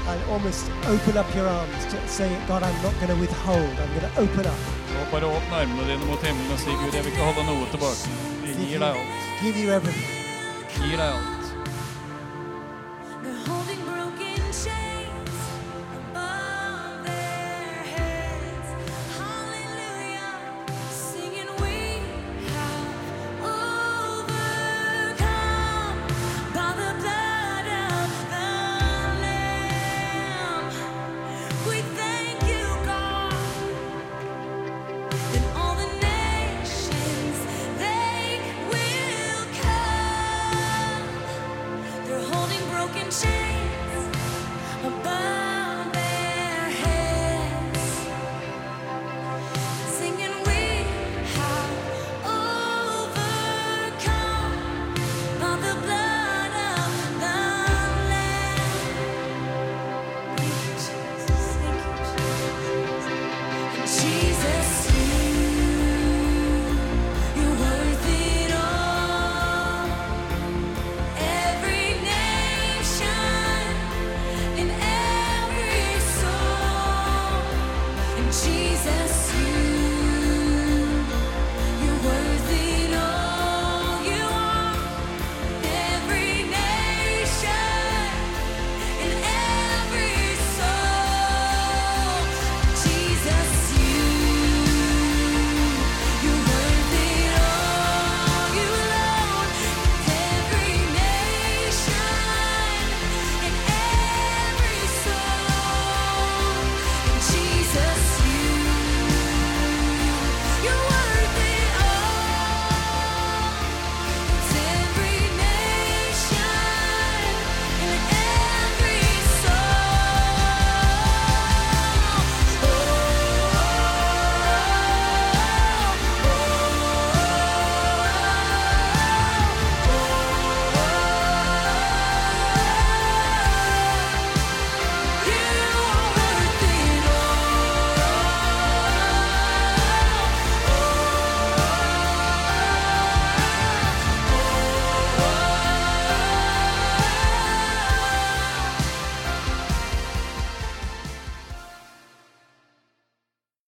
S1: And almost open up your arms to say, God, I'm not going to withhold. I'm going to open up.
S2: Og bare åpne armene dine mot himmelen og si, Gud, jeg vil ikke holde noe tilbake. Jeg
S1: Give
S2: gir
S1: you,
S2: deg alt.
S1: give you everything.
S2: Gir deg alt.